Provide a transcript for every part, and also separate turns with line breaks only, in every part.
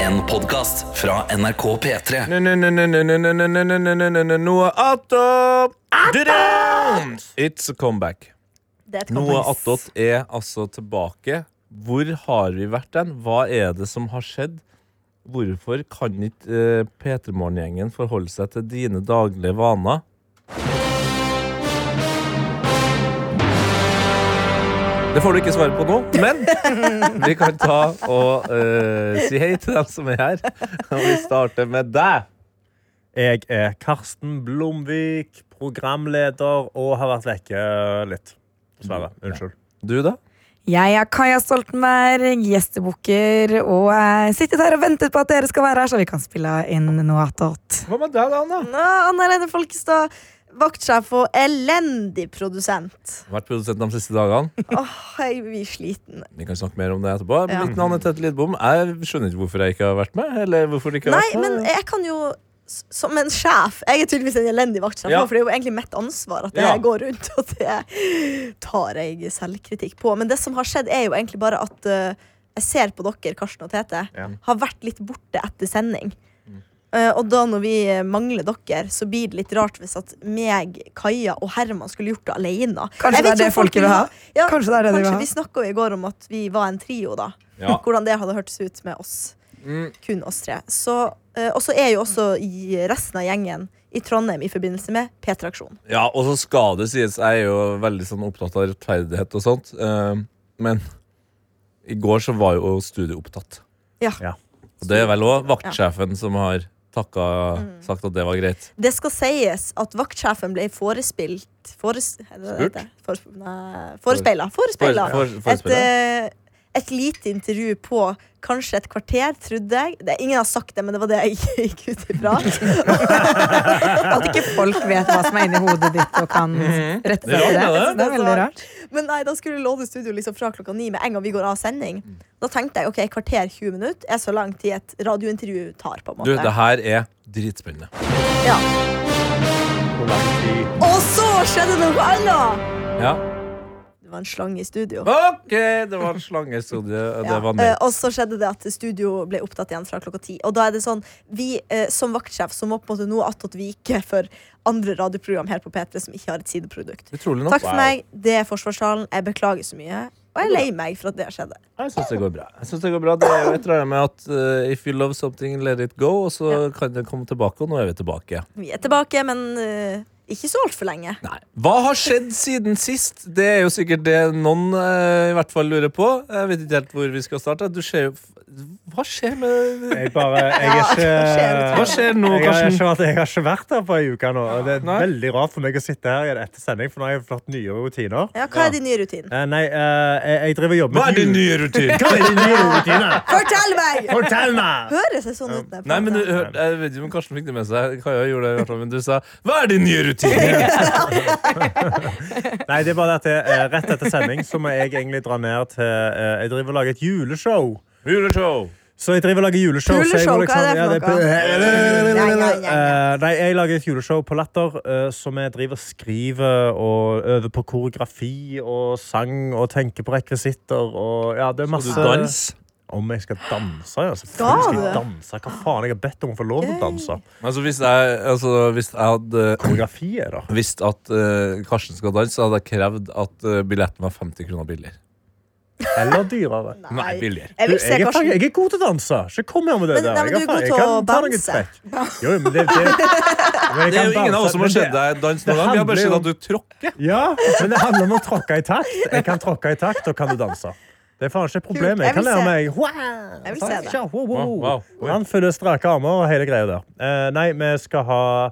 En podcast fra NRK P3
Noah Attot! It's a comeback.
Det er et
Noah
comeback.
Attot er altså tilbake. Hvor har vi vært den? Hva er det som har skjedd? Hvorfor kan ikke eh, P3morgen-gjengen forholde seg til dine daglige vaner? Det får du ikke svare på nå, men vi kan ta og eh, si hei til dem som er her. Og vi starter med deg.
Jeg er Karsten Blomvik, programleder og har vært vekke litt. Dessverre. Unnskyld.
Mm. Du, da?
Jeg er Kaja Stoltenberg, gjestebukker, og eh, sittet her og ventet på at dere skal være her, så vi kan spille inn noe attåt.
Hva med deg, da, Anna?
Nå, Anna Lene Folkestad, vaktsjef og elendig produsent.
Vært produsent de siste dagene.
Åh, jeg blir sliten.
Vi kan snakke mer om det etterpå.
Ja.
Mitt navn er Tete Lidbom. Jeg skjønner ikke hvorfor jeg ikke har vært med. Eller hvorfor det ikke har
Nei,
vært
men eh,
med.
jeg kan jo s- som en sjef Jeg er tydeligvis en elendig vaktsjef,
Ja.
nå, for det er jo egentlig mitt ansvar at det
Ja.
går rundt. Og det tar jeg selvkritikk på. Men det som har skjedd, er jo egentlig bare at eh, jeg ser på dere, Karsten og Tete,
Ja.
har vært litt borte etter sending. Eh, og da når vi eh, mangler dere, så blir det litt rart hvis at meg, Kaja og Herman skulle gjort det alene.
Kanskje
Jeg
det
vet
er
ikke
det
om folk
folket vil ha?
Ja,
Kanskje det er det de vil
kanskje
ha?
Vi snakka jo i går om at vi var en trio, da.
Ja.
Hvordan det hadde hørtes ut med oss.
Mm.
Kun oss tre. Så, eh, og så er jo også i resten av gjengen i Trondheim i forbindelse med P-traksjon.
Ja, og så skal det sies, jeg er jo veldig sånn opptatt av rettferdighet og sånt. eh, men i går så var jo studiet opptatt.
Ja.
Ja.
Og det er vel òg vaktsjefen som har takka,
Mm.
sagt at det var greit.
Det skal sies at vaktsjefen ble forespilt Fores, er det det
Spurt?
heter? Fores, nei, Forespeila. Forespeila.
For- for-
Et,
forespillet.
eh, et lite intervju på kanskje et kvarter, trodde jeg. Det, ingen har sagt det, men det var det jeg gikk ut ifra.
At ikke folk vet hva som er inni hodet ditt og kan rette
Mhm. Det
seg
er
til det.
rart,
det.
Det er veldig rart.
Men nei, da skulle vi låne studio liksom fra klokka ni med en gang vi går av sending. Da tenkte jeg ok, kvarter 20 minutter er så lang tid et radiointervju tar. på en
Du,
måte
det her er dritspennende.
ja.
Hvor lang tid?
Og så skjedde noe annet!
Ja.
Det var en slange i studio.
OK, det var en slange i studiet. og
Ja.
Det var
Eh,
meg.
og så skjedde det at studio ble opptatt igjen fra klokka ti. Og da er det sånn, vi eh, som vaktsjef så må på en måte nå attåt vike for andre radioprogram her på P3 som ikke har et sideprodukt.
Utrolig nok.
Takk for meg. Det er Forsvarssalen. Jeg beklager så mye. Og jeg er lei meg for at det skjedde.
Jeg syns det går bra. Jeg synes Det går bra Det er jo et eller annet med at eh, if you love something, let it go. Og så
Ja.
kan det komme tilbake, og nå er vi tilbake.
Vi er tilbake, men eh, ikke så altfor lenge.
Nei. Hva har skjedd siden sist? Det er jo sikkert det noen eh, i hvert fall lurer på. Jeg vet ikke helt hvor vi skal starte. Du ser jo Hva skjer med
Jeg bare Jeg er ikke
Ja,
Hva skjer nå,
jeg har,
Karsten?
ikke vært, jeg har ikke vært her på ei uke nå. og Det er
Nei.
veldig rart for meg å sitte her igjen etter sending, for nå har jeg fått nye rutiner.
Ja, hva er din nye rutin?
Eh, nei, eh, jeg, jeg driver og jobber
Hva er din
jul-
nye rutine?
Hva er din nye rutine?
Fortell meg!
Fortell meg!
Høres jeg sånn ut? når jeg
Nei, men du,
prater?
hør, Jeg vet ikke om Karsten fikk det med seg. Kaja gjorde det, i hvert fall, men du sa 'Hva er din nye rutine?'
Nei, det er bare det at jeg, eh, Rett etter sending så må jeg egentlig dra ned til eh, Jeg driver og lager et juleshow.
Juleshow.
Så jeg driver og lager juleshow. så jeg må
Juleshow, hva er det
ja,
for noe?
er- Eh, Nei, jeg lager et juleshow på Latter, eh, som jeg driver og skriver og øver på koreografi og sang og tenker på rekvisitter og ja, det er
Du
masse
dans.
Om jeg skal danse, ja.
Skal
Selvfølgelig skal jeg
du?
danse. Hva faen? Jeg har bedt om å få lov til å danse.
Altså, hvis jeg, altså, hvis jeg hadde
Koreografi er det.
visst at eh, Karsten skal danse, så hadde jeg krevd at eh, billetten var 50 kroner billigere.
Eller dyrere.
Nei, billigere.
Jeg
Du,
vil se
jeg, er,
Karsten.
faktisk- jeg er god til å danse. Ikke kom her med det
Men-
der.
nei, men
Jeg
du er
kan-
god
jeg
til
kan
å
ta noen
bounce.
trekk. Jo, men det, det, men
Det er
jeg kan
jo ingen av
bounce,
oss som har
men
sett
det-
deg danse
det
noen gang. Vi har bare
handler
sett
jo
at du tråkker.
Ja, men det handler om å tråkke i takt. Jeg kan tråkke i takt, og kan du danse. Det er faen ikke et problem.
Kult, jeg
Jeg kan
vil
lære
se.
meg wow,
Jeg vil se det.
tja, wow, wow.
Wow, wow. Oi.
Anfylle strake armer og hele greia der. Eh, nei, vi skal ha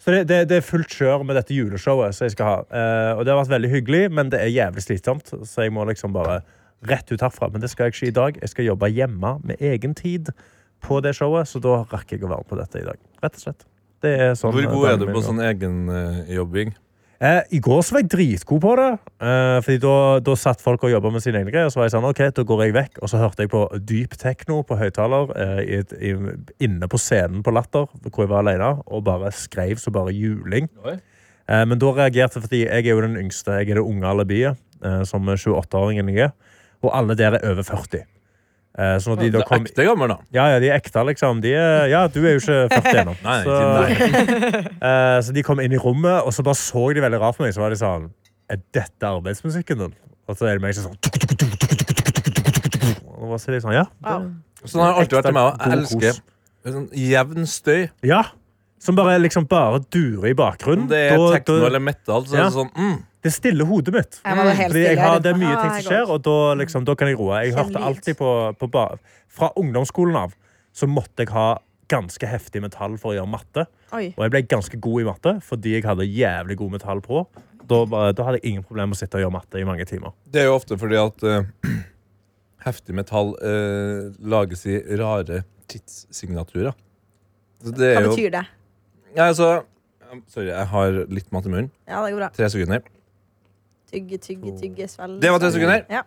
Så det, det, det er fullt kjør med dette juleshowet som jeg skal ha. Eh, og det har vært veldig hyggelig, men det er jævlig slitsomt, så jeg må liksom bare rett ut herfra. Men det skal jeg ikke i dag. Jeg skal jobbe hjemme med egen tid på det showet, så da rakk jeg å være med på dette i dag. Rett og slett. Det er sånn
Hvor
eh,
god
dagen
er du
min
på
går.
sånn egenjobbing?
Eh, I går så var jeg dritgod på det. Eh, fordi da, da satt folk og jobba med sine egne greier. Så var jeg sånn, ok, da går jeg vekk. Og så hørte jeg på dyp tekno på høyttaler eh, i et- i- inne på scenen på Latter, hvor jeg var alene, og bare skrev så bare juling.
Oi.
Eh, men da reagerte jeg fordi jeg er jo den yngste. Jeg er det unge alibiet, eh, som 28-åringen jeg er. Og alle der er over 40. Eh, så når de
Det
da
er
kom
ekte gammel, da.
ja, ja, de er ekte, liksom. De er, ja, du er jo ikke 40 ennå.
Nei,
så, eh, så de kom inn i rommet, og så bare så de veldig rart på meg. Så var de sånn Er dette arbeidsmusikken din? Og så er det meg som sånn tuk, tuk, tuk, tuk, tuk, tuk, tuk, tuk, tuk, tuk, tuk. Og så er de sånn, ja.
Wow.
Sånn har det alltid vært med meg.
God
Jeg elsker
kos.
sånn jevn støy.
ja. Som bare liksom bare durer i
Om
bakgrunnen.
det er
Da-
tekno
da-
eller metal, så er det sånn mm.
det stiller hodet mitt.
Jeg må være helt
Fordi jeg
stille
har,
her.
det er mye
Ah,
ting
jeg
som skjer,
går.
og da, liksom, da kan jeg roe. Jeg
Kjenn
hørte
lyd.
alltid på, på ba Fra ungdomsskolen av så måtte jeg ha ganske heftig metall for å gjøre matte.
Oi.
Og jeg ble ganske god i matte fordi jeg hadde jævlig god metall på. Da, bare, da hadde jeg ingen problemer med å sitte og gjøre matte i mange timer.
Det er jo ofte fordi at eh, heftig metall eh, lages i rare tidssignaturer. Så det
Hva
er jo
betyr det?
Nei, altså um, Sorry, jeg har litt mat i munnen.
Ja, det går bra.
Tre sekunder.
Tygge, tygge, tygge, svelge.
Det var tre sekunder.
Ja.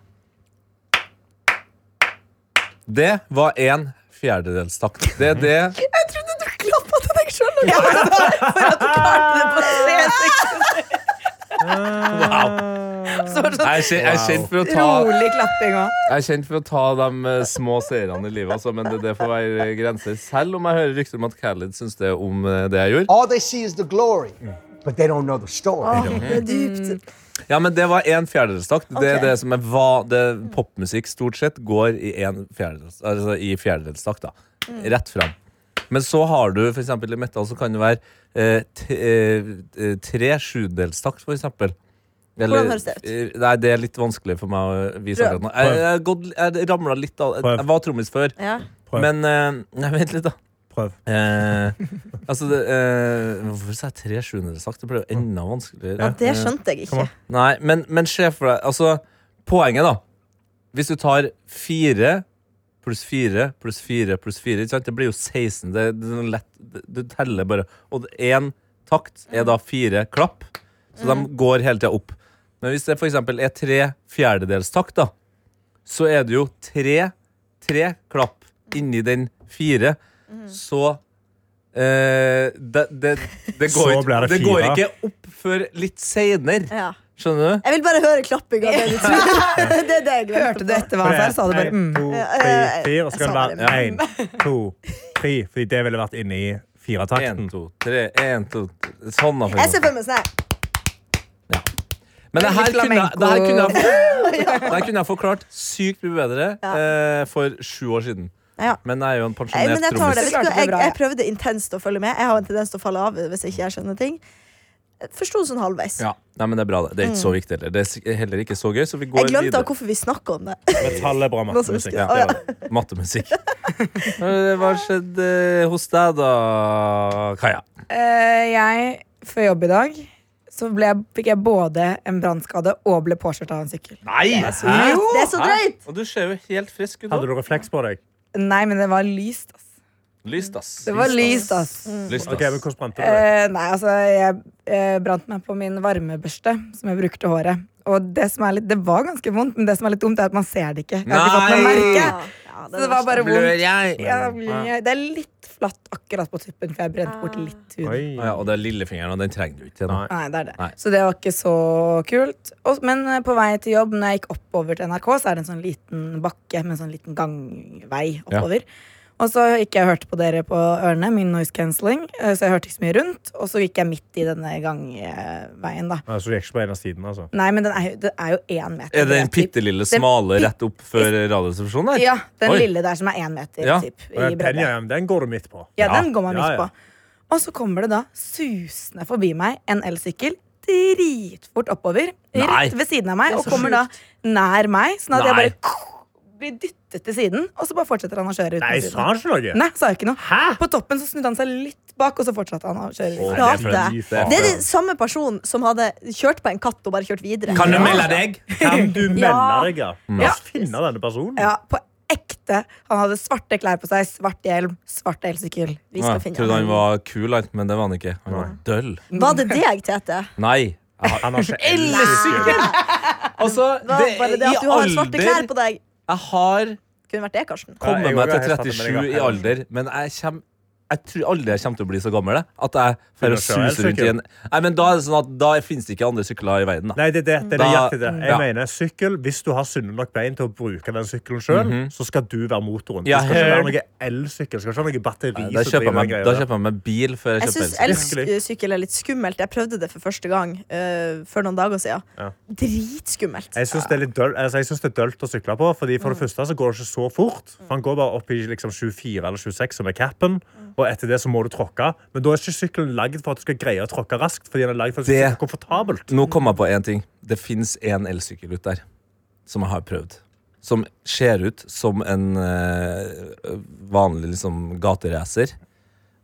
Det var en fjerdedelstakt. Det er det
Jeg trodde du klappa til deg sjøl! For at du klarte det på tre sekunder.
Så var det sånn
Jeg er kjent- jeg er kjent for å ta,
rolig klapping òg.
jeg er kjent for å ta de eh, små seirene i livet, altså, men det, det får være grenser. Selv om jeg hører rykter om at Khaled syns det om eh, det jeg gjorde.
All they see is the glory, but Mm. they don't know the story.
Åh, det er dypt.
Ja, men det var en fjerdedelstakt. Det er
Ok.
det som er va det, Popmusikk stort sett går i en fjerdedels altså i fjerdedelstakt. da.
Mm.
Rett fram. Men så har du for eksempel i metal så kan det være eh, t eh, eh, tre sjudelstakt, for eksempel.
Hvordan høres det ut?
eh, Nei, det er litt vanskelig for meg å vise
Prøv.
akkurat nå. Jeg, jeg, gått- jeg ramla litt av
Prøv.
Jeg var trommis før,
Ja.
Prøv.
men eh, Nei, vent litt, da.
Prøv.
Eh, altså, det, eh, hvorfor sa jeg tre sjuendedelstakt? Det ble jo enda vanskeligere.
ja, det
Eh,
skjønte jeg ikke.
Nei, men, men se for deg Altså, poenget da Hvis du tar fire Pluss fire, pluss fire, pluss fire ikke sant? Det blir jo 16 det, det, er sånn lett, det, Du teller bare Og det- en takt er da fire klapp Så de går hele tiden opp Men hvis det for eksempel er tre fjerdedels takt da Så er det jo tre Tre klapp Inni den fire Så eh, det, det, det, går
Så
ikke,
blir det
det går
fire.
ikke opp før litt senere
Ja.
Skjønner du?
Jeg vil bare høre klappinga. Det, du tror. det er det jeg
Hørte du
på.
etter hva han sa, sa du bare
En,
mm.
to, tre,
Eh,
fire. Og så kan
jeg
det være én, to, tre. Fordi det ville vært inne i
En,
firetakten.
to, tre, en, to tre. Sånn, da. for
Jeg ser
eksempel.
for meg sånn her.
Men det her
Litt
kunne jeg, det her
flamenco.
kunne jeg, det her kunne jeg forklart sykt mye bedre
Ja.
eh, for sju år siden.
Ja.
Men jeg er jo en
Nei, men
pensjonert
jeg, tar det.
trommis.
Vet du, hva?
Klarte det
jeg,
bra,
jeg
ja.
prøvde intenst å følge med. Jeg har en tendens til å falle av hvis jeg ikke jeg skjønner ting. Jeg Forsto sånn halvveis.
Ja. Nei, men det er bra, det. Det er ikke så viktig heller. Det er s- heller ikke så gøy, så vi går
Mm. Jeg glemte
videre.
av hvorfor vi snakker om det.
Metall er bra
Noe som
mattemusikk.
husker.
det var det.
Mattemusikk. Eh, Hva skjedde eh, hos deg da, Kaja?
Eh, jeg, før jobb i dag, så ble jeg, fikk jeg både en brannskade og ble påkjørt av en sykkel.
Nei!
drøyt. Det er så drøyt.
Og du ser jo helt frisk ut.
Hadde
da.
du refleks på deg?
Nei, men det var lyst, ass.
Lyst, ass.
Det var lyst, ass.
Lyst,
Ok,
ass. Mm.
men hvordan brente du?
Eh, nei, altså, jeg eh, brant meg på min varmebørste, som jeg brukte håret. Og det som er litt, det var ganske vondt, men det som er litt dumt, er at man ser det ikke. Jeg har ikke fått noe
Nei!
merke.
Ja,
Så det var bare
Blør
vondt.
jeg?
Ja, det er litt flatt akkurat på tuppen, for jeg brente bort litt hud.
Oi.
Ja, og det er lillefingeren, og den trenger du ikke.
Nei.
Nei.
Nei, det er det.
Nei.
Så det var ikke så kult. Og, men eh, på vei til jobb, når jeg gikk oppover til NRK, så er det en sånn liten bakke med en sånn liten gangvei oppover. Og så gikk jeg og hørte på dere på ørene, min noise cancelling, eh, så jeg hørte ikke så mye rundt. Og så gikk jeg midt i denne gangveien, da.
Ja, Så du gikk ikke på en av sidene, altså?
Nei, men den er jo, det er jo én meter.
Er det den
bred, typ.
bitte lille
Den
smale rett opp før Radioresepsjonen? der?
Ja, den
Oi.
lille der som er én meter,
Ja.
typ.
Og
I
den,
bredde.
penja, ja, men den går du midt på.
Ja,
Ja,
den går man
ja,
midt
ja.
på. Og så kommer det da susende forbi meg en elsykkel dritfort oppover.
Nei.
Rett ved siden av meg, og kommer da nær meg, sånn at jeg
Nei.
bare blir dyttet til siden. Og så bare fortsetter han å kjøre uten
Nei,
siden.
sa han ikke noe?
Nei, sa jeg ikke noe.
Hæ?
På toppen så snudde han seg litt bak, og så fortsatte han å kjøre.
Å,
Uten.
det er for-
Flate.
Fy faen.
Det er den samme personen som hadde kjørt på en katt og bare kjørt videre.
Kan du melde deg?
Kan du melde
Ja.
deg, ja? La
Ja.
oss finne denne personen.
Ja, på ekte. Han hadde svarte klær på seg, svart hjelm, svart elsykkel.
Vi
Ja,
skal
jeg
finne
trodde han
den.
var kul, han, men det var han ikke. Han var døll.
Var det deg, Tete?
Nei. Jeg
Han har ikke
Elsykkel! Altså,
Var
det,
bare det
i
at du har svarte klær
alder
på deg?
Jeg har
Kunne vært det, Karsten.
Ja, jeg
kommet
går-
meg til
jeg satte meg
37
i
i
gang.
alder, men jeg kommer jeg tror aldri jeg kommer til å bli så gammel jeg, at jeg får
Begynner å kjøre
suse rundt i en Nei, men da er det sånn at da finnes det ikke andre sykler i verden. Da.
Nei, det, er det, det er
Da-
nøyaktig det. Jeg
Ja.
mener, sykkel, Hvis du har sunne nok bein til å bruke den sykkelen sjøl, så skal du være motoren.
Mhm. Ja,
det skal ikke
helt.
være noe elsykkel. Det skal ikke være noe batteri.
Da kjøper jeg
som driver
meg,
den greia
da
der.
kjøper jeg meg bil før jeg
Jeg
kjøper
syns
elsykkel.
elsykkel.
elsykkel er litt skummelt. Jeg prøvde det for første gang eh, for noen dager siden.
Ja.
Dritskummelt.
Jeg syns det er litt døl, altså, jeg synes det er dølt å sykle på. Fordi For det første så går det ikke så fort. For Han går bare opp i liksom, 24 eller 26, som er capen. Og etter det så må du tråkke. Men da er ikke sykkelen lagd for at du skal greie å tråkke raskt. Fordi den er laget for at du skal
Det-
sykle komfortabelt.
Nå kom jeg på én ting. Det fins en elsykkel ut der som jeg har prøvd. Som ser ut som en eh, vanlig liksom, gateracer.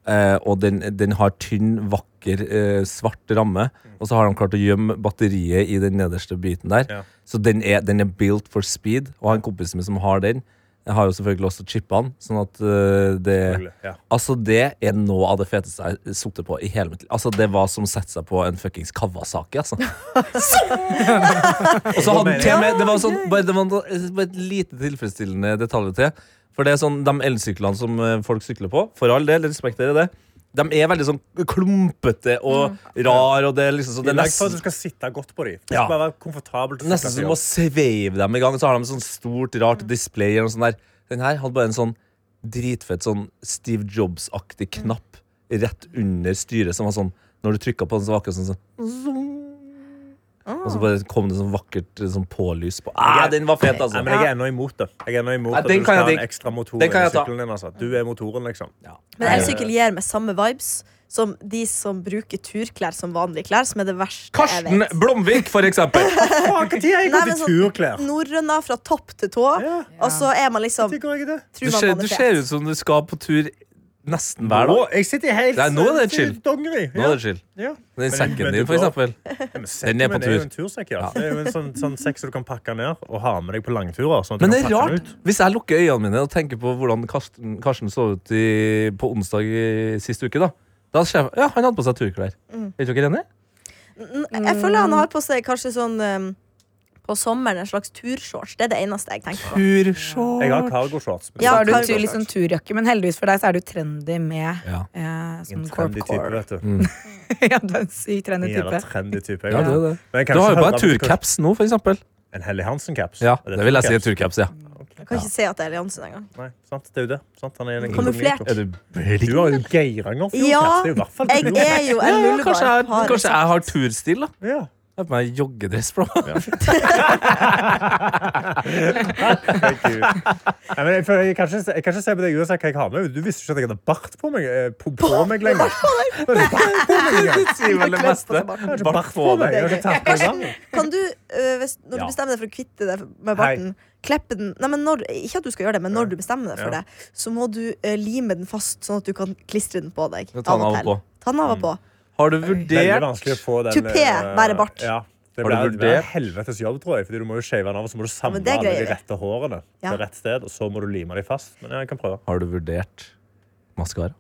Eh, og den, den har tynn, vakker, eh, svart ramme. Og så har de klart å gjemme batteriet i den nederste biten der.
Ja.
Så den er, den er built for speed. Og han kompisen min som har den, jeg har jo selvfølgelig også chippa den. Sånn at eh, det
Selvfølgelig, ja.
Altså, det er noe av det feteste jeg har sittet på i hele mitt liv. Altså, det var som å sette seg på en fuckings Kawasaki, altså. Og så hadde den til og med Det var, sånn, bare, det var en- bare et lite tilfredsstillende detalj til. For det er sånn, De elsyklene som eh, folk sykler på, for all del, respekterer det, de er veldig sånn klumpete og rar, og det er liksom så
Det
det
er
er
lagd for at
nesten
du skal sitte godt på dem.
Ja.
Bare være komfortabelt å
Nesten
sykle
som å
på.
sveive dem i gang. Så har de sånn stort, rart display. Eller noe sånt der. Den her hadde bare en sånn dritfett sånn Steve Jobs-aktig knapp rett under styret, som var sånn Når du trykka på den, så var det akkurat sånn, sånn zoom. Og så bare kom det sånn vakkert sånn pålys på. Ah, den var fet, altså.
Nei, men jeg er ennå imot det. Jeg er ennå imot
Nei,
at
den kan
du skal
jeg
ha en
digge.
ekstra motor
Den kan
i
jeg ta.
sykkelen din. Altså. Du er motoren, liksom.
Ja.
Men elsykkel gir meg samme vibes som de som bruker turklær som vanlige klær, som er det verste jeg
Karsten
vet.
Blomvik, for eksempel.
Faen, når har
Nei,
jeg gått
men
i
sånn-
turklær?
Norrøna fra topp til tå,
Ja.
og så er man liksom
Når gjør jeg det?
Du
tror man
ser,
man
du
er fet.
ser ut som du skal på tur nesten hver
Nå,
dag.
jeg sitter helt
Nei, nå er det chill.
dongeri.
Nå er det chill.
Ja.
Den
Men-
sekken
men
din,
du
for
går-
eksempel.
Ja, men sekken
Den er
min
på
jo
tur.
en tursekk, ja. Det er jo en sånn, sånn sekk som du kan pakke ned og ha med deg på langturer. Sånn at
Men
du
det
kan
er
pakke den
rart.
ut.
Hvis jeg lukker øynene mine og tenker på hvordan Karsten, Karsten så ut i, på onsdag i, sist uke, da Da ser jeg Ja, han hadde på seg turklær.
Mm.
Er dere ikke enige?
N- Jeg føler han har på seg kanskje sånn um, på sommeren en slags turshorts. Det er det eneste jeg tenker på.
Jeg
Turshorts.
har cargoshorts. men
Ja,
sånn
har du
cargo
tur,
cargoshorts.
liksom turjakke, men heldigvis for deg så er du trendy med
Ja.
eh,
En
sånn
trendy type,
corpcore.
vet du.
ja, du er en sykt
En
trendy
jævla
type.
trendy type.
Mm. Ja, det er det.
Men jeg kan
Du har jo
ikke
bare
høre at du skal-
turcaps nå, for eksempel.
En Helly Hansen-caps.
Ja,
Er
det vil jeg si er
turcaps?
turcaps, ja.
Jeg kan ikke se at det er Alliansen engang.
Nei, sant, det er jo det. Sant, han er en
Kamuflert.
inkognito.
Er du blind?
Du har jo Geiranger fjordcaps.
Ja,
det er jo i hvert fall
Jeg er jo
Ja, kanskje
en
jeg,
lullebar. har- liksom-
kanskje
liksom.
jeg har turstil, da.
Ja.
Jeg har på meg joggedress, bro.
Thank you. Nei, men jeg, føler- jeg, kan ikke, jeg kan ikke se på deg uansett hva jeg har med. Du visste ikke at jeg hadde bart på meg, eh, på, på meg lenger. Det er bart på meg, ja.
Det sier vel det meste.
Jeg har ikke
Bart
bart på
på
meg.
deg.
Jeg har ikke tatt meg sammen.
Kan du, eh, hvis, når
Ja.
du bestemmer deg for å kvitte deg med barten, kleppe den Nei, men når, Ikke at du skal gjøre det, men når du bestemmer deg for
Ja.
det, så må du eh, lime den fast, sånn at du kan klistre den på deg.
Ja, ta den av og
til.
på.
Ta den av og på.
Har du
Veldig
vurdert
vanskelig å få den
Tupé,
eh,
bare bart.
Ja. Det
Har du
blir- det blir
vurdert?
en helvetes jobb, tror jeg. Fordi du må jo shave den av, og så må du samle
men det
alle
greier
de
jeg.
rette hårene
Ja.
til rett sted, og så må du lime dem fast. Men jeg kan prøve.
Har du vurdert maskara?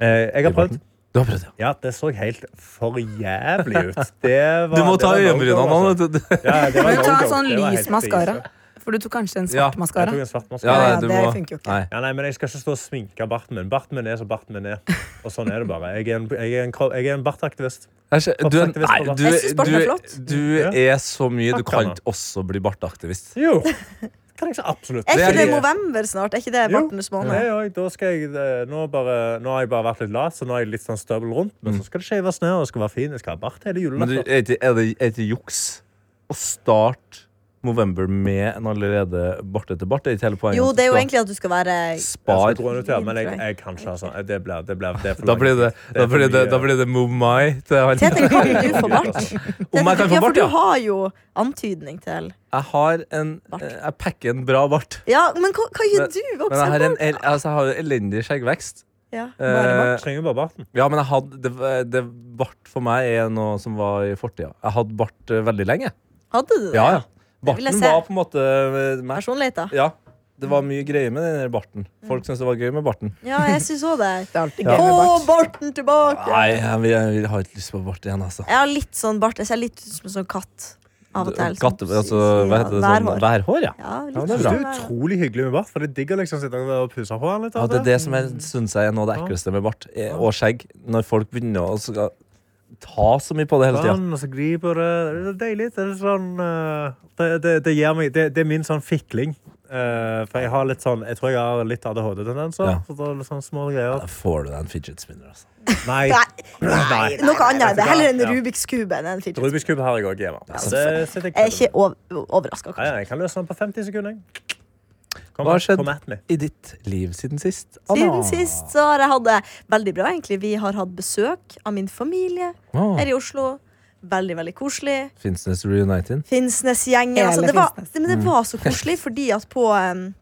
Eh, jeg har prøvd.
Du har prøvd, ja.
Ja, det så helt for jævlig ut. Det var,
Du må
det
ta
var no-go,
øyenbrynene nå. vet
altså.
du.
Ja, det var
Men ta
no-go.
en sånn
Det var helt
lys maskara.
krise.
For du tok kanskje en
Ja,
svart
Jeg
maskara.
tok en svart maskara.
Ja,
Ja,
nei, du
det
må
funker jo ikke.
Nei.
Ja, nei, men Jeg skal ikke stå og sminke barten min. Barten min er som barten min er. Og sånn er det bare. Jeg er en, jeg er en, kro- jeg er en bartaktivist.
Jeg ser- Du, er-
Bartaktivist
nei,
på bart.
du,
Jeg synes barten er
du,
flott.
du er så mye Du
Takk, Anna.
kan ikke også bli barteaktivist.
Jo! Kan jeg så absolutt.
Er
Det er
ikke det
litt-
november snart? Er ikke det
Jo.
bartens måned?
Nei, oi, da skal jeg, eh, nå, bare, nå har jeg bare vært litt lat, så nå er jeg litt sånn støvel rundt. Men så skal det shaves ned, og det skal være fin. Jeg skal ha bart
Mm.
hele altså.
Men du,
julelatter.
er det er det- er det juks å starte november med en allerede bartete bart? Det er ikke hele poenget.
Jo, det er jo
Da
egentlig at du skal være
Spar.
Jeg skal gå rundt her, men jeg, jeg kan ikke ha sånn. Det blir, det blir, det er for
Da
langt.
blir det,
er
da
for
blir
mye.
det, da blir det Move My til han.
Tete, kan du få bart?
Om jeg kan få
ja, for
bart,
du
ja.
har jo antydning til
Jeg har en
Bart.
eh, Jeg packer en bra bart.
Ja, men hva, hva gjør
Men-
du?
Men jeg har en
Voksen
el- altså, jeg har jo elendig skjeggvekst.
Ja.
Eh,
Jeg trenger bare barten.
Ja, men jeg hadde, det, det bart for meg er noe som var i fortida. Jeg hadde bart eh, veldig lenge.
Hadde du det?
Ja, ja.
vil jeg
Barten
se.
var på en måte eh, meg.
Personligheter?
Ja, det var mye greier med den der barten.
Mm.
Folk syntes det var gøy med barten.
Ja, jeg syns òg det.
Det er alltid
Få
gøy med bart.
barten tilbake!
Nei, jeg, vil- jeg, vil- har ikke lyst på bart igjen, altså.
Jeg har litt sånn bart. Jeg ser litt ut som en sånn katt. av og til. sånn.
Gatte, altså, hva heter det? Sånn,
Værhår.
værhår, ja.
Ja,
Ja,
litt
det
sånn
er
værhår.
utrolig hyggelig med bart, for det digger liksom å sitte og pusse på han litt.
ja.
av
Det er
og til.
det som jeg syns er noe av det ekleste med bart eh, og skjegg. Når folk begynner å skal ta så mye på det hele tida.
Sånn, og så griper det. Det er deilig. Det er sånn eh, det, det, det gir meg Det, det er min sånn fikling. Eh, for jeg har litt sånn Jeg tror jeg har litt ADHD-tendenser.
Ja.
Så det er litt sånn små greier.
Da får du deg en fidget spinner, altså.
Nei. Nei.
Noe annet. Det er heller en
Ja.
Rubiks kube enn en fidget.
Rubiks kube har jeg òg hjemme. Det sitter jeg
Jeg er
på.
ikke ov- overraska,
Nei,
kanskje.
nei, jeg kan løse den på 50 sekunder. jeg. Kom,
Hva har skjedd?
Kom at me.
I ditt liv siden sist?
Siden sist så har jeg hatt det veldig bra, egentlig. Vi har hatt besøk av min familie
Oh,
her i Oslo. Veldig, veldig koselig.
Finnsnes Reunited?
Finnsnes-gjengen.
Hele
Altså, det, var-
Finnsnes.
det, men det var så koselig, fordi at på em,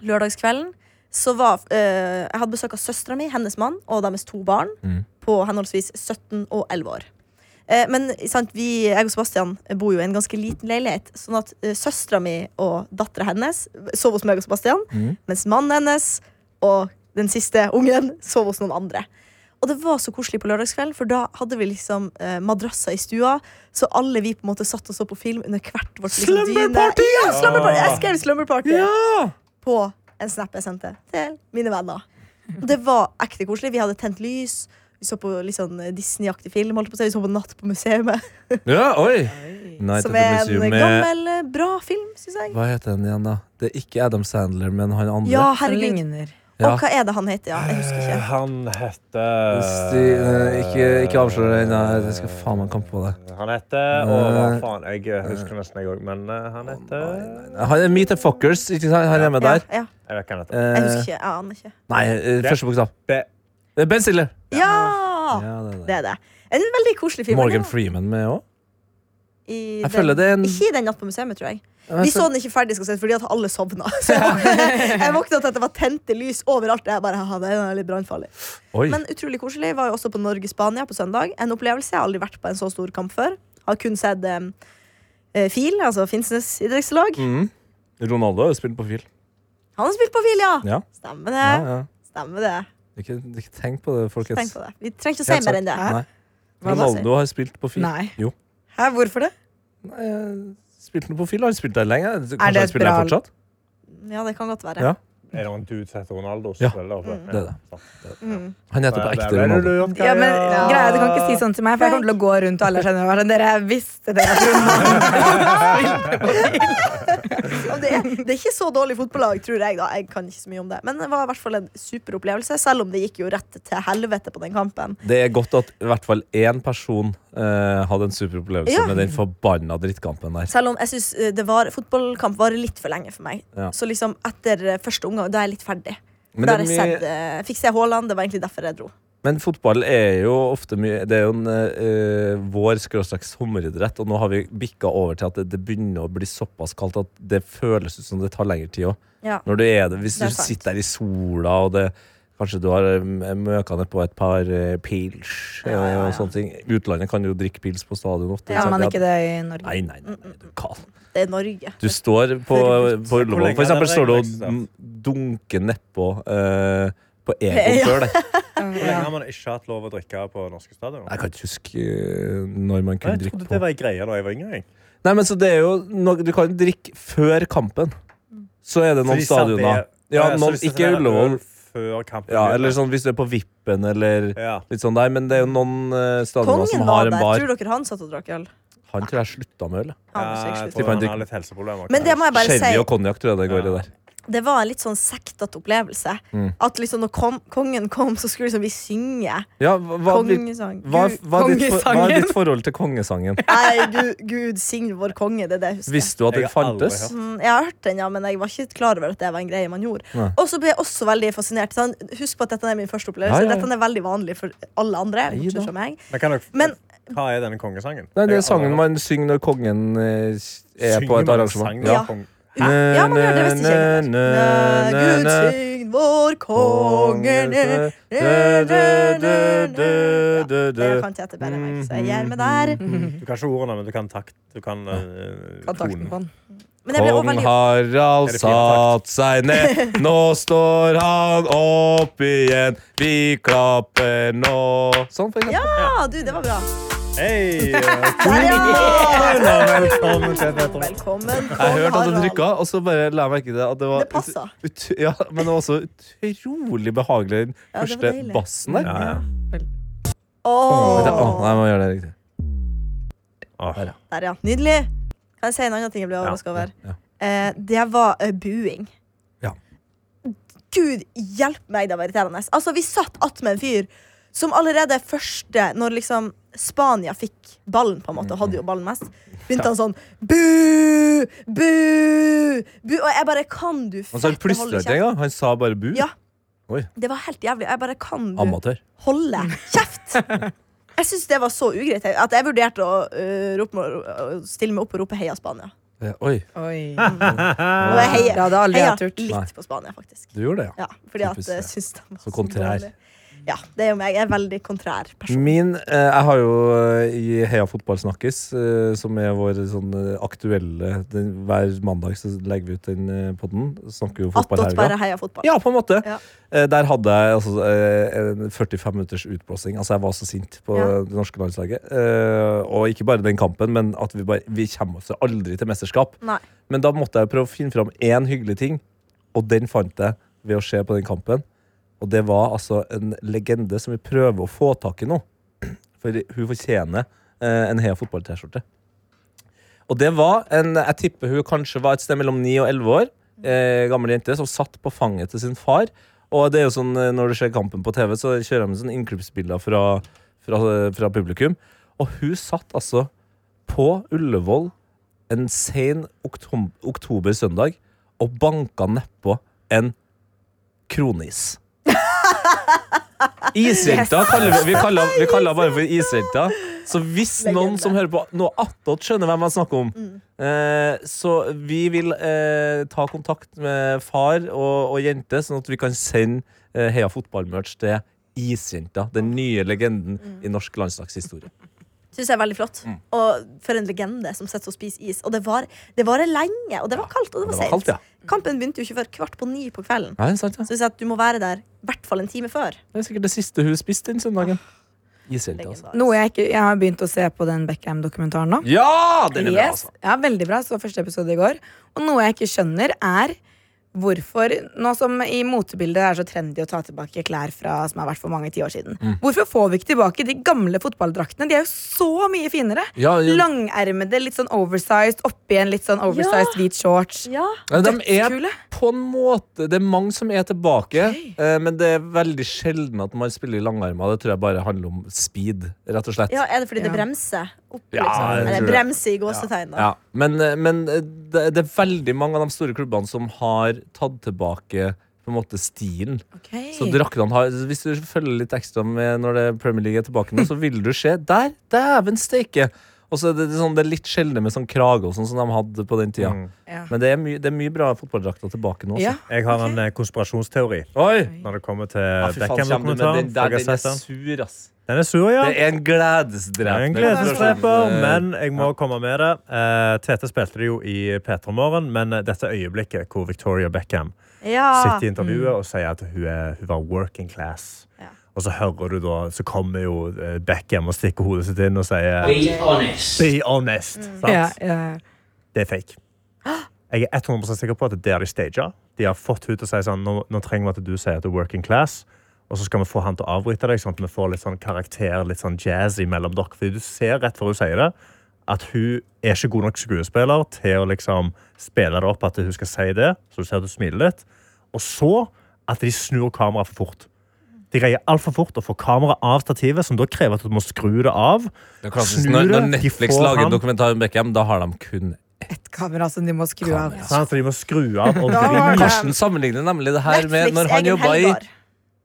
lørdagskvelden så var eh, Jeg hadde besøk av søstera mi, hennes mann og deres to barn
Mm.
på henholdsvis 17 og 11 år. Eh, men sant, vi, jeg og Sebastian bor jo i en ganske liten leilighet, sånn at uh, søstera mi og dattera hennes sov hos meg og Sebastian,
Mm.
mens mannen hennes og den siste ungen sov hos noen andre. Og det var så koselig på lørdagskvelden, for da hadde vi liksom eh, madrasser i stua. Så alle vi på en måte satt og så på film under hvert vårt liksom,
Slumberparty! Ah.
dyne. Ja, slumberparty! Jeg skrev slumberparty
Ja!
på en snap jeg sendte til mine venner. Og det var ekte koselig. Vi hadde tent lys. Vi så på litt sånn Disney-aktig film. Holdt på å si. Vi så på Natt på museet,
Ja, oi! Night
som
at the
er en
Museum med
gammel, eh, bra film, syns jeg.
Hva heter den igjen, da? Det er ikke Adam Sandler, men han andre.
Ja,
Den
herregud.
ligner.
Ja.
Og hva er det han heter? Ja, jeg husker ikke.
Han
Sti, eh, ikke ikke
heter
avslør det ennå. Jeg skal faen Eh. meg komme på det.
Eh, Han heter Å, hva faen. Jeg husker nesten, jeg òg. Men eh, han heter
Han er Meet the Fuckers. Ikke sant? Han er med
Ja,
der.
ja,
Jeg vet hva han heter.
jeg
Eh,
husker ikke. Jeg aner ikke.
nei, eh, første bokstav.
Be-
Eh, Ben Stiller.
Ja!
Ja, det er
Det
det.
er det. En veldig koselig film.
Morgan Freeman med òg.
I
Jeg føler det er en-
Ikke i den Natt på museet, tror jeg. Vi så den ikke ferdig skal jeg si, fordi at alle sovna. Så jeg våkna- jeg våkna til at det var tente lys overalt. Jeg bare, «Haha, det er litt brannfarlig
Oi.
Men utrolig koselig. Var jo også på Norge-Spania på søndag. En opplevelse. Jeg har aldri vært på en så stor kamp før. Har kun sett em, eh, FIL, altså Finnsnes idrettslag.
Mm. Ronaldo har jo spilt på fil.
Han har spilt på FIL, ja!
Ja. Ja,
Stemmer det.
ja.
Stemmer det.
Ikke, ikke tenk på det, folkens.
Tenk på det. Vi trenger ikke å
Helt
si mer enn det.
sant. Nei.
Hva da, sier
Ronaldo har spilt på fil.
Nei.
Jo.
Hæ, hvorfor det?
Nei, jeg Spilte han på fil? Har han spilt der lenge? Kanskje
det
han
et
spiller der
bra-
fortsatt?
Ja, det kan godt være.
Ja.
Er det en dude som heter Ronaldo?
Ja.
som spiller der oppe?
Det er det.
Ja.
Mm.
Han heter på
Der-
ekte
der ble du
Ronaldo.
lurt,
Ja, men
Kaja.
greia, er, Du kan ikke si sånn til meg, for jeg kommer til å gå rundt og alle skjønner hva Dere visste det! Jeg
Ja, det, er, det er ikke så dårlig fotballag, tror jeg. da Jeg kan ikke så mye om det Men det var i hvert fall en super opplevelse, selv om det gikk jo rett til helvete på den kampen.
Det er godt at i hvert fall én person eh, hadde en super opplevelse
Ja.
med den forbanna drittkampen der.
Selv om jeg synes eh, det var fotballkamp varer litt for lenge for meg.
Ja.
Så liksom etter eh, første omgang, da er jeg litt ferdig.
Men,
da har
det
jeg
er mye-
sett, eh, fikk se Haaland, det var egentlig derfor jeg dro.
men fotball er jo ofte mye Det er jo en eh, vår skråstrek sommeridrett, og nå har vi bikka over til at det, det begynner å bli såpass kaldt at det føles ut som det tar lengre tid òg.
Ja.
Når du er det, hvis
Det er
du
sant.
sitter der i sola, og det, kanskje du har eh, møka ned på et par eh, pils eh,
Ja, ja, ja.
og sånne ting Utlandet kan jo drikke pils på stadion ofte.
Ja,
Sånn,
ikke sant?
man ikke det i Norge.
Nei, nei, nei, nei, du er gal.
Det er Norge.
Du står på, på Ullevål,
lenge
for
er
eksempel,
det
står du og
regnvekst, da?
m- dunker nedpå uh, på Egon
Ja.
før deg.
Hvor lenge har man ikke hatt lov å drikke på norske stadion?
Jeg kan ikke huske eh, når man
Nei,
kunne
Jeg
drikke
trodde det
på.
var en greie da jeg var yngre. jeg.
Nei, men så det er jo no, Du kan drikke før kampen. Så er det
Så
noen
de serverer-
stadioner. Ja,
så
noen,
hvis det
ikke
serverer
Ullevål.
øl Før kampen.
Ja, eller sånn hvis du er på Vippen eller
Ja.
litt sånn der. Men det er jo noen eh, stadioner
Kongen
som
var
har
der.
en bar.
Tror dere han satt og drakk øl?
Han tror jeg slutta med øl. ja.
Han var
Ja,
sikkert
jeg
slutt.
Du
tror
kan
han
drikke-
har litt helseproblemer.
Men det må jeg bare si.
Sherry og konjakk tror jeg det går i
Ja.
der.
det var en litt sånn sektete opplevelse.
Mm.
At liksom når kom, kongen kom, så skulle liksom vi synge
Ja, hva, hva,
kongesang.
hva, hva, er ditt, for- hva er
Kongesangen.
ditt forhold til kongesangen?
Nei, Gud, Gud signe vår konge, det er det jeg husker.
Visste du at
Jeg
den
har aldri
fantes?
hørt.
Mm, Jeg har hørt den, ja, men jeg var ikke klar over at det var en greie man gjorde.
Nei.
Og så ble jeg også veldig fascinert. Sånn, husk på at dette er min første
Ja,
opplevelse.
ja, ja.
Dette er veldig vanlig for alle andre.
Nei da.
bortsett fra meg.
Men, kan dere,
Men-
hva er denne kongesangen?
Nei, det er
Jeg
sangen
har aldri
man
hørt.
synger når kongen eh, er
Synger
på et
man en sang
arrangement.
når
Ja.
kong-
Ja, man gjør det hvis ikke jeg
Næ, næ, næ,
Nei, Gud
næ.
sign vår konge næ, næ, næ, næ, næ. Ja, det kan ikke jeg bedre enn meg, så jeg gjør meg der.
Mm.
Du kan ikke ordene, men du kan takt. Du kan eh,
Kontakten Mm. på den.
Men jeg ble også
Kong
veldig
Harald
Er det fire
satt seg ned, nå står han opp igjen. Vi klapper nå. Sånn, for eksempel.
Ja, du, det var bra.
Hei! Corona, velkommen til Petter.
Velkommen, Kong
Jeg hørte at det
Harald.
trykka, og så bare la jeg merke til at det var
Det passet.
ut, ut, Ja, men det var også utrolig behagelig, den
var
første
deilig.
bassen der.
Ja, ja.
Åh,
Åh,
ah, nei, jeg må gjøre det riktig.
Åh.
Der, ja. Nydelig. Kan jeg si en annen ting jeg ble overraska over?
Ja.
Eh, det var eh, buing.
Ja.
Gud hjelpe meg, det var irriterende. Altså, vi satt attmed en fyr som allerede første, når liksom Spania fikk ballen, på en måte, og hadde
Mhm.
jo ballen mest, begynte han sånn bu, bu, bu. Og jeg bare Kan du
Og så han
fette holde
plystra ikke
kjeft?
engang. Han sa bare bu.
Ja.
Oi.
Det var helt jævlig. Jeg bare Kan du
Amatør.
holde kjeft? Jeg syns det var så ugreit jeg- at jeg vurderte å øh, rope, å stille meg opp og rope heia Spania.
Eh, Oi,
Oi.
Og jeg heier,
Det hadde aldri
heier
jeg turt.
Nei.
litt på Spania, faktisk.
du gjorde det, ja.
Ja, fordi at
Typisk
jeg
det.
syns det var
Så kontrær.
dårlig. Ja, det er jo meg. Jeg er veldig kontrær person.
Min, eh, Jeg har jo eh, i Heia Fotball Snakkes, eh, som er vår sånn eh, aktuelle den, Hver mandag så legger vi ut den eh, podden. Snakker jo fotball
Attåt
helga.
bare heia fotball.
Ja, på en måte.
Ja.
Eh, Der hadde jeg altså, eh, en 45 minutters utblåsing. Altså, jeg var så sint på
Ja.
det norske landslaget. Eh, Og ikke bare den kampen, men at vi, bare, vi kommer oss aldri til mesterskap.
Nei.
Men da måtte jeg prøve å finne fram én hyggelig ting, og den fant jeg ved å se på den kampen. Og det var altså en legende som vi prøver å få tak i nå. For hun fortjener eh, en Heia Fotball-T-skjorte. Og det var en Jeg tipper hun kanskje var et sted mellom 9 og 11 år. Eh, gammel jente som satt på fanget til sin far. Og det er jo sånn, eh, når du ser kampen på TV, så kjører de sånn innklippsbilder fra, fra, fra publikum. Og hun satt altså på Ullevål en sen oktom, oktober søndag og banka nedpå en kronis. Ishelter kaller vi, vi kaller vi kaller bare for ishelter. Så hvis noen
Legende.
som hører på nå attåt skjønner hvem jeg snakker om, eh, så vi vil eh, ta kontakt med far og, og jente, sånn at vi kan sende eh, Heia fotballmerch til Isjenta. Den nye legenden i norsk landslagshistorie.
Syns jeg er veldig flott.
Mm.
Og for en legende som sitter og spiser is. Og det var- det varer lenge, og det var kaldt, og det
det
var
var kaldt,
seint.
ja.
Kampen begynte jo ikke før kvart på ni på kvelden.
Ja, det er sant, ja.
Så jeg sier at du må være der i hvert fall en time før.
Det er sikkert det siste hun spiste den søndagen. Ishelter, altså.
Legendarisk.
Noe jeg ikke Jeg har begynt å se på den Beckham-dokumentaren nå.
Ja! Den er bra,
Yes.
altså.
Ja, veldig bra. Så første episode i går. Og noe jeg ikke skjønner, er hvorfor Nå som i motebildet er så trendy å ta tilbake klær fra som har vært for mange tiår siden.
Mm.
Hvorfor får vi ikke tilbake de gamle fotballdraktene? De er jo så mye finere!
Ja, jo.
Langermede, litt sånn oversized, oppi en litt sånn oversized hvit shorts.
Ja.
Ja, de er
Dødskule.
på en måte Det er mange som er tilbake, eh, men det er veldig sjelden at man spiller i langarmer. Det tror jeg bare handler om speed, rett og slett.
ja, er det fordi det
Ja.
bremser opp,
Ja,
liksom?
jeg tror
Eller
det.
bremser i gåsetegn. da.
Ja, men, eh, men eh, det, det er veldig mange av de store klubbene som har tatt tilbake på en måte stilen.
Ok.
Så draktene har Hvis du følger litt ekstra med når det Premier League er tilbake nå, så vil du se Der! Dæven steike! Og så er det, sånn, det er litt sjeldnere med sånn krage og sånn som de hadde på den tida.
Ja.
Men det er, mye- det er mye bra fotballdrakter tilbake nå. altså.
Ja.
Også.
Jeg har en eh, konspirasjonsteori
Oi!
når det kommer til
Ja, fy faen, kommer du med
Beckham-dokumentaren.
den
for
der,
jeg
den
har
er
sett den.
sur, ass.
Den er sur, ja.
Det er sånn, en
Det er
gledesdreper.
en gledesdreper,
eh,
men jeg må komme med det. Eh, Tete spilte det jo i P3 Morgen, men eh, dette øyeblikket hvor Victoria Beckham
Ja.
sitter i intervjuet og sier at hun, er, hun var working class.
Ja.
Og så hører du da, så kommer jo eh, Beckham og stikker hodet sitt inn og sier
Be honest.
Be honest! Sant?
Ja, ja.
Det er fake. Jeg er 100 sikker på at det er det de stager. De har fått hun til å si sånn, nå, nå trenger vi at du sier at du er working class, og så skal vi få han til å avbryte deg, sånn at vi får litt sånn karakter, litt sånn jazzy mellom dere. Fordi du ser rett før hun sier det, at hun er ikke god nok skuespiller til å liksom spille det opp at hun skal si det, så du ser at hun smiler litt. Og så at de snur kameraet for fort. De greier altfor fort å få kameraet av stativet, som da krever at du må skru det av.
Klassisk,
Snur
når,
det,
når
de
Netflix
får
lager
han-
en dokumentar om Beckham, da har de kun
Et kamera som de må skru av.
Sant? Så de må skru av og
Da var
vri
det-
Karsten sammenligner nemlig det her med
Netflix
når han
egen
jobba i
helgar.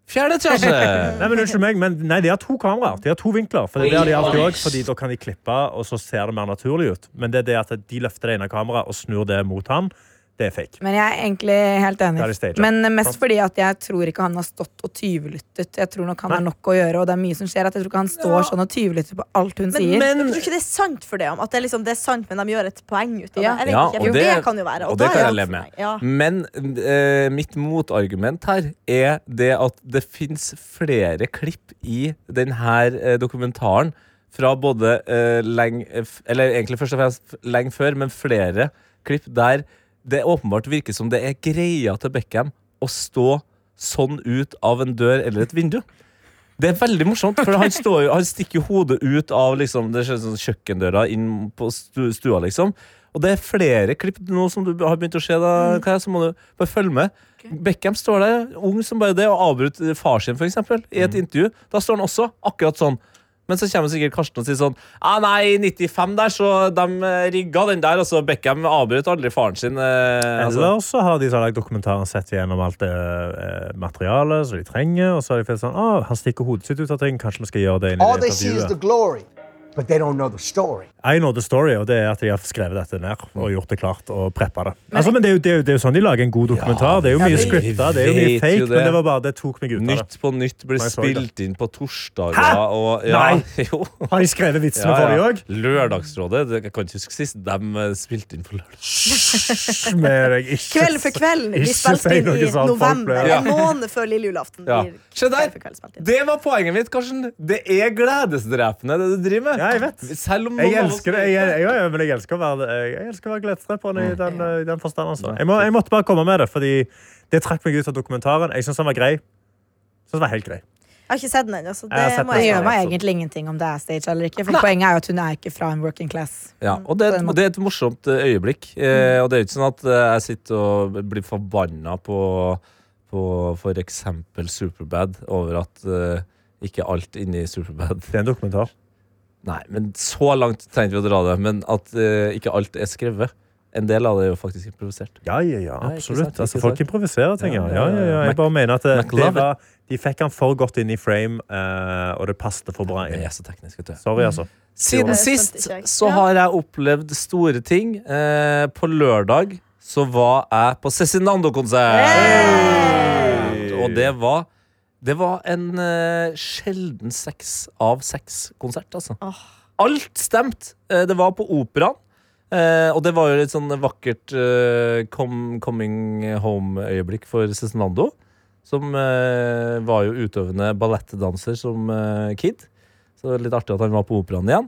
fjerde etasje.
Nei, men unnskyld meg, men nei, de har to kameraer. De har to vinkler. For det er det de alltid også, fordi da kan de klippe, og så ser det mer naturlig ut. Men det er det at de løfter det ene kameraet og snur det mot han, det er fake.
Men jeg er egentlig helt
Da er det
enig.
stage, ja.
Men eh, mest fordi at jeg tror ikke han har stått og tyvlyttet. Jeg tror nok han har nok å gjøre, og det er mye som skjer. At jeg tror ikke han står sånn og tyvlytter på alt hun
Men,
sier.
men jeg tror ikke det er sant for det om at det er, liksom, det er sant, men de gjør et poeng ut av det.
Ja.
Jeg vet
Ja,
ikke,
og
for det,
det-
kan jo være.
Og det
da
kan
er
jeg
det
leve
for
med.
meg.
Mm.
Ja.
Men eh, mitt motargument her er det at det fins flere klipp i denne eh, dokumentaren fra både eh, lenge f- Eller egentlig først og fremst f- lenge før, men flere klipp der det åpenbart virker som det er greia til Beckham å stå sånn ut av en dør eller et vindu. Det er veldig morsomt, for han, står jo, han stikker jo hodet ut av liksom, det ser ut som kjøkkendøra inn på stu- stua. liksom. Og det er flere klipp nå som du har begynt å se, da, Kaja, så må du bare følge med. Beckham står der, ung som bare det, og avbryter far sin, for eksempel, i
Mm.
et intervju. Da står han også akkurat sånn. Men så kommer sikkert Karsten og sier sånn ah, Nei, i 95 der, så de eh, rigga den der. Altså, Beckham avbrøt aldri faren sin. Eh, altså.
Eller så har de sånn, like, dokumentaren sett gjennom alt det eh, materialet som de trenger. Og så har de funnet sånn, å, han stikker hodet sitt ut av ting. Kanskje vi skal gjøre det inn i
All
det
they see is the
intervjuet.
glory, but they don't know the story.
I know the story, og det er at de har skrevet dette ned og gjort det klart. og preppet det. Altså, men det er, jo, det, er jo, det er jo sånn de lager en god dokumentar. Det er jo mye
vi
skripta, det er jo mye
vet
fake,
jo det.
men det var bare det tok meg ut av det.
Nytt på nytt blir
Nei, sorry, da.
spilt inn på torsdager.
Hæ?
Og, ja,
Nei.
Jo.
Har de skrevet vitsene
Ja, ja.
for de òg?
Lørdagsrådet. det- Jeg kan ikke huske sist de eh, spilte inn på lørdag.
Kveld for kveld. Vi
Ikke
spilte
si
inn
noe
i
sånt, folk
november.
ble-
Ja.
En måned før lille julaften.
Ja.
blir
Se der!
Kveld for kveld spilt inn.
Det var poenget mitt, Karsten. Det er gledesdrepende, det du driver med.
Ja, jeg vet.
Selv om
Jeg
noen av oss-
elsker det. Jeg, jeg, jeg, men jeg elsker å være, jeg elsker å være gledesdreper
Mm.
i den, i den forstand. Altså. Jeg, må, jeg måtte bare komme med det, fordi det trakk meg ut av dokumentaren. Jeg syns den var grei. Jeg synes den var helt grei.
Jeg har ikke sett den ennå, så
Jeg har
det
sett
må
Det
den.
jeg
gjør
gjøre.
meg egentlig ingenting om det er stage eller ikke. For poenget er jo at hun er ikke fra en working class.
Ja, og det, er et- det er et morsomt eh, øyeblikk. Eh, og det er jo ikke sånn at eh, jeg sitter og blir forbanna på, på for eksempel Superbad over at eh, ikke alt inni Superbad
Det er en dokumentar.
Nei, men så langt trengte vi å dra det. Men at eh, ikke alt er skrevet. En del av det er jo faktisk improvisert.
Ja, ja, ja,
Ja, ikke
absolutt.
sant, ikke
altså, folk
sant.
improviserer ting. Ja,
Ja,
ja, ja, ja.
Mac-
Jeg bare mener at det, det
McLovin.
var, de fikk han for godt inn i frame, eh, og det passet for bra
Det
inn.
er så teknisk, vet du.
Sorry, altså.
Siden
Det skjønte
sist
ikke jeg.
så
Ja.
har jeg opplevd store ting. Eh, på lørdag så var jeg på Cezinando-konsert. Og det var Det var en eh, sjelden seks av seks-konsert, altså. Alt stemte! Eh, det var på operaen. Eh, og det var jo et sånn vakkert eh, com coming home-øyeblikk for Cezinando. Som eh, var jo utøvende ballettdanser som eh, kid. Så det er litt artig at han var på operaen igjen.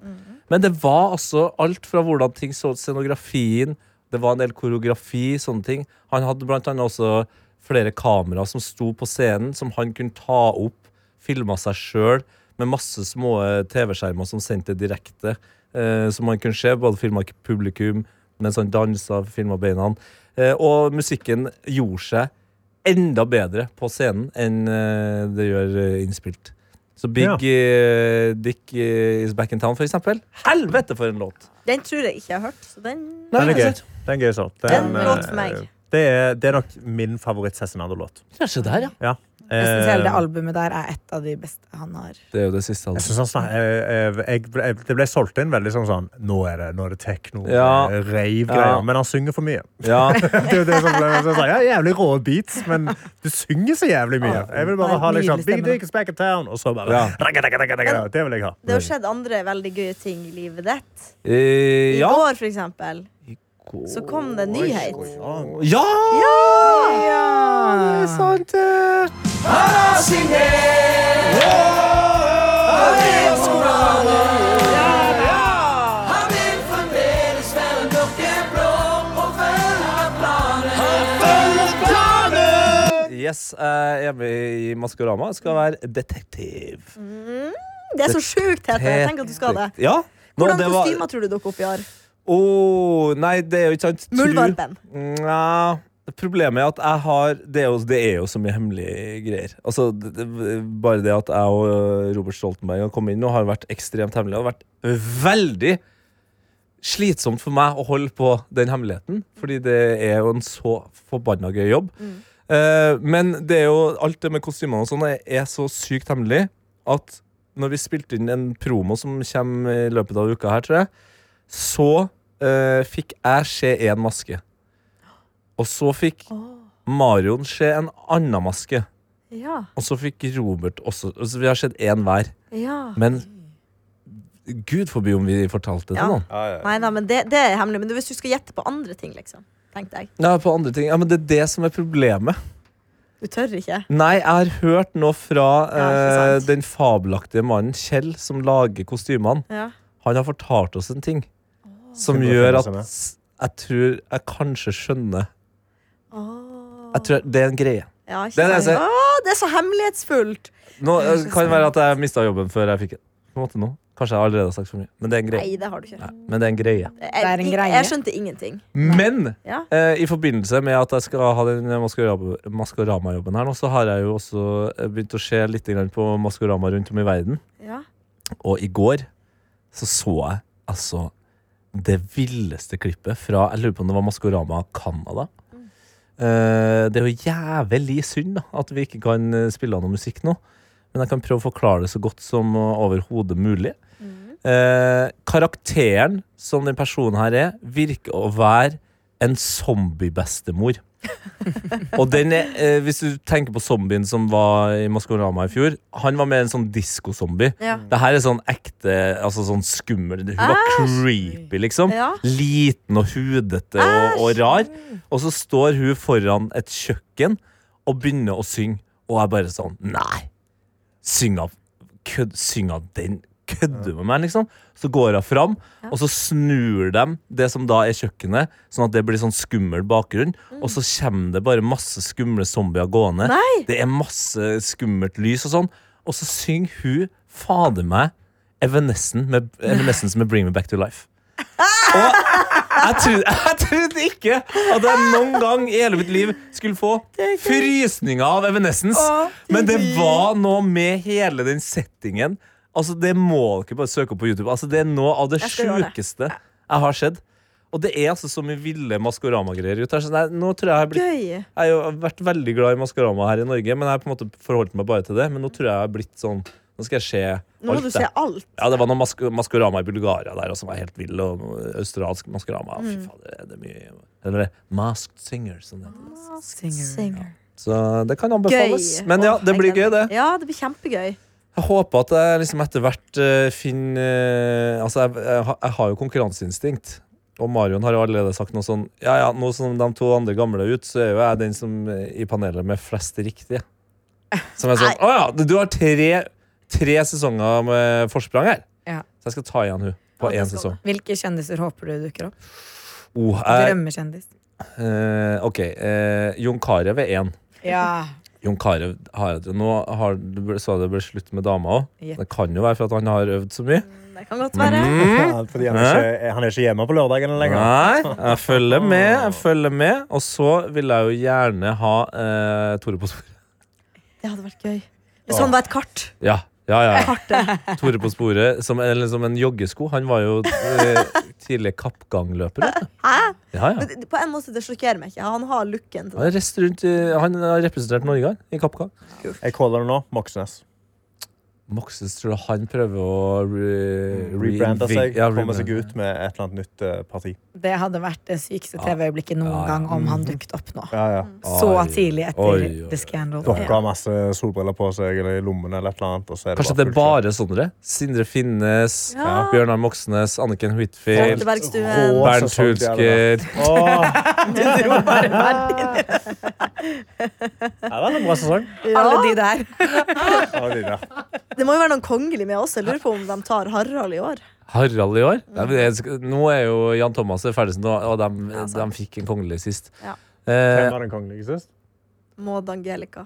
Men det var altså alt fra hvordan ting så ut, scenografien, det var en del koreografi, sånne ting. Han hadde blant annet også flere kamera som sto på scenen, som han kunne ta opp, filma seg sjøl, med masse små eh, TV-skjermer som sendte direkte, eh, som man kunne se. Både filma publikum, mens han dansa, filma beina. Eh, og musikken gjorde seg enda bedre på scenen enn eh, det gjør eh, innspilt. Så Big
Ja.
eh, Dick eh, Is Back in Town, for eksempel. Helvete, for en låt!
Den tror jeg ikke jeg har hørt. Så den
Den er gøy.
altså,
Den er gøy sånn.
Den
eh,
låt for meg.
Det er, det er nok min favoritt-Cezinando-låt.
Kanskje der, ja.
Ja.
Jeg synes hele det
Eh,
albumet der er et av de beste han har.
Det er jo det siste altså.
Jeg
albumet.
synes han snak, eh, eh, jeg, ble- jeg, det ble solgt inn veldig sånn sånn Nå er det, nå er det tekno,
Ja.
eh, rave greier.
Ja.
Men han synger for mye.
Ja.
Det er jo det som ble, så jeg sa, ja, jævlig rå beats, men du synger så jævlig mye. Jeg vil
Ja,
bare ha liksom
nydelig
Big
stemme.
Dick is back in town, og så bare
Ja.
ragga, ragga, ragga, ragga, Det vil jeg ha.
Det har skjedd andre veldig gøye ting i livet ditt.
Eh,
I
ja.
går, for eksempel, så kom det en nyhet.
Ja!
Ja,
Det er sant, det. Yes, jeg er med i Maskorama. Jeg skal være detektiv.
Det er så sjukt, Tete. Tenk Mm. at du skal det.
Ja. Nå,
Hvordan
det var-
kostymer tror du dukker opp i år?
Åh, nei, det er jo ikke sant. Tru-
Muldvarpen.
Nja, Problemet er at jeg har det er, jo, det er jo så mye hemmelige greier. Altså, det, det, bare det at jeg og øh, Robert Stoltenberg har kommet inn nå, har vært ekstremt hemmelig. Det har vært veldig slitsomt for meg å holde på den hemmeligheten, fordi det er jo en så forbanna gøy jobb. Eh, men det er jo alt det med kostymene og sånn er- er så sykt hemmelig at når vi spilte inn en promo som kommer i løpet av uka her, tror jeg, så eh, fikk jeg se én maske. Og så fikk Marion se en annen maske.
Ja.
Og så fikk Robert også. Altså, vi har sett én hver.
ja.
Men gud forby om vi fortalte det
Ja.
til noen.
Nei da, men det, det er hemmelig. Men hvis du skal gjette på andre ting, liksom. Tenkte jeg.
Ja, på andre ting. Ja, men det er det som er problemet.
Du tør ikke.
Nei, jeg har hørt noe fra
Ja, ikke
eh,
sant.
den fabelaktige mannen Kjell, som lager kostymene.
Ja.
Han har fortalt oss en ting som
Skal vi
gjør
bare
at
finne
s- jeg tror jeg kanskje skjønner
Åh.
Jeg tror Det er en greie.
Ja, ikke
Det er det jeg
sant?
ser.
Åh, det er så hemmelighetsfullt!
Nå
Det er
eh,
så
kan det være at jeg mista jobben før jeg fikk den. På en måte nå. Kanskje jeg allerede har sagt for mye. Men det er en greie.
Nei, det har du ikke.
Nei, men det er en greie.
er en
Jeg,
greie.
jeg skjønte ingenting.
Men
Ja.
eh, i forbindelse med at jeg skal ha den Maskorama- Maskorama-jobben her nå, så har jeg jo også eh, begynt å se litt grann på Maskorama rundt om i verden.
Ja.
Og i går så så jeg altså det villeste klippet fra Jeg lurer på om det var Maskorama Canada. Eh, det er jo jævlig synd da, at vi ikke kan eh, spille av noe musikk nå. Men jeg kan prøve å forklare det så godt som eh, overhodet mulig. Eh, karakteren som den personen her er, virker å være en zombie-bestemor. Og den er, eh, hvis du tenker på zombien som var i Maskorama i fjor, han var mer en sånn disko-zombie.
Ja.
Det her er sånn ekte, altså sånn skummel Hun var creepy, liksom.
Ja.
Liten og hudete og, og rar. Og så står hun foran et kjøkken og begynner å synge, og jeg bare sånn Nei! Syng av kødd, syng av den. Kødder du med meg, liksom? Så går hun fram, og så snur de det som da er kjøkkenet, sånn at det blir sånn skummel bakgrunn. Og så kommer det bare masse skumle zombier gående.
Nei.
Det er masse skummelt lys og sånn. Og så synger hun, fader meg, Evanescence med, Evanescence med Bring Me Back to Life. Og jeg trodde, jeg trodde ikke at jeg noen gang i hele mitt liv skulle få frysninger av Evanescence. Men det var noe med hele den settingen. Altså Det må dere bare søke opp på YouTube. Altså Det er noe av det
Jeg skal gjøre det.
sjukeste jeg har sett. Og det er altså så mye ville Maskorama-greier ute her. Så nei, nå tror jeg jeg har blitt
Gøy.
jeg har jo vært veldig glad i Maskorama her i Norge, men jeg har på en måte forholdt meg bare til det. Men nå tror jeg jeg har blitt sånn Nå skal jeg se
Nå må
alt,
du
det.
se alt.
Ja, det var noe mask Maskorama i Bulgaria der også som var helt vill, og noe australsk Maskorama. Fy
Mm.
fader, det er mye Eller det er Masked Singer, som det heter.
Singer.
Så det kan
Ah. Gøy.
anbefales. Men ja,
Åh,
det
jeg
blir gøy,
gleder
det.
meg. Ja, det blir kjempegøy.
Jeg håper at jeg liksom etter hvert eh, finner eh, Altså, jeg, jeg, har- jeg har jo konkurranseinstinkt. Og Marion har jo allerede sagt noe sånn Ja, ja, nå som de to andre gamle er ute, så er jo jeg den som eh, i panelet med flest riktige. Som er sånn Å ja, du har tre, tre sesonger med forsprang her.
Ja.
Så jeg skal ta igjen hun på
Ja, det
én
skal du.
sesong.
Ah, Hvilke kjendiser håper du dukker opp?
Oh, jeg,
Drømmekjendis.
eh, ok, eh, Jon Carew er én.
Ja.
Jon Carew har jeg Nå har, du ble- sa det ble slutt med dama òg.
Ja.
Det kan jo være for at han har øvd så mye.
Mm, Det kan godt være.
Mm.
Ja, Fordi han, er ikke, han er ikke hjemme på lørdagene lenger.
Nei, jeg følger med. jeg følger med Og så vil jeg jo gjerne ha eh, Tore på sporet.
Det hadde vært gøy. Hvis han var et kart.
Ja, ja, ja, ja.
Kartet.
Tore på sporet som, eller, som en joggesko. Han var jo eh, tidligere kappgangløper. vet du.
Hæ?
Ja, ja.
Men det- på en måte, det sjokkerer meg ikke. Han har looken til
Han,
det.
har reist rundt, i- han har representert Norge han, i kappgang.
Jeg caller det nå. Moxnes.
Moxes tror jeg han prøver å Eh, re
Rebrander
reinvig-
Eh, seg,
ja,
kommer seg
rebrand.
ut med et eller annet nytt eh, parti.
Det hadde vært det
Ah.
sykeste TV-øyeblikket noen
Ja, ja.
gang om
Mm.
han dukket opp nå.
Ja, ja.
Så
Oi.
tidlig etter
Oi, oi, oi.
The Scandal.
Dere har masse solbriller på seg eller i lommene eller et eller annet. Og så er det
Kanskje det er
fullt
bare sånne? Sindre Finnes,
Ja.
Bjørnar Moxnes, Anniken Huitfeldt,
Holtebergstuen.
Rå.
Bernt
Sånn som de er
Hulsker.
kjørt. Åh. Ja, det var en bra sesong.
Alle
Ja.
de der.
Ja, de der.
Det må jo være noen kongelige med også. Jeg lurer på om de tar Harald i år.
Harald i
Mm.
år? Nei, men jeg sk- Nå er jo Jan Thomas og Ferdelsen, og og de, de fikk en kongelig sist.
Ja.
Hvem
Eh,
var den kongelige sist?
Maud Angelica.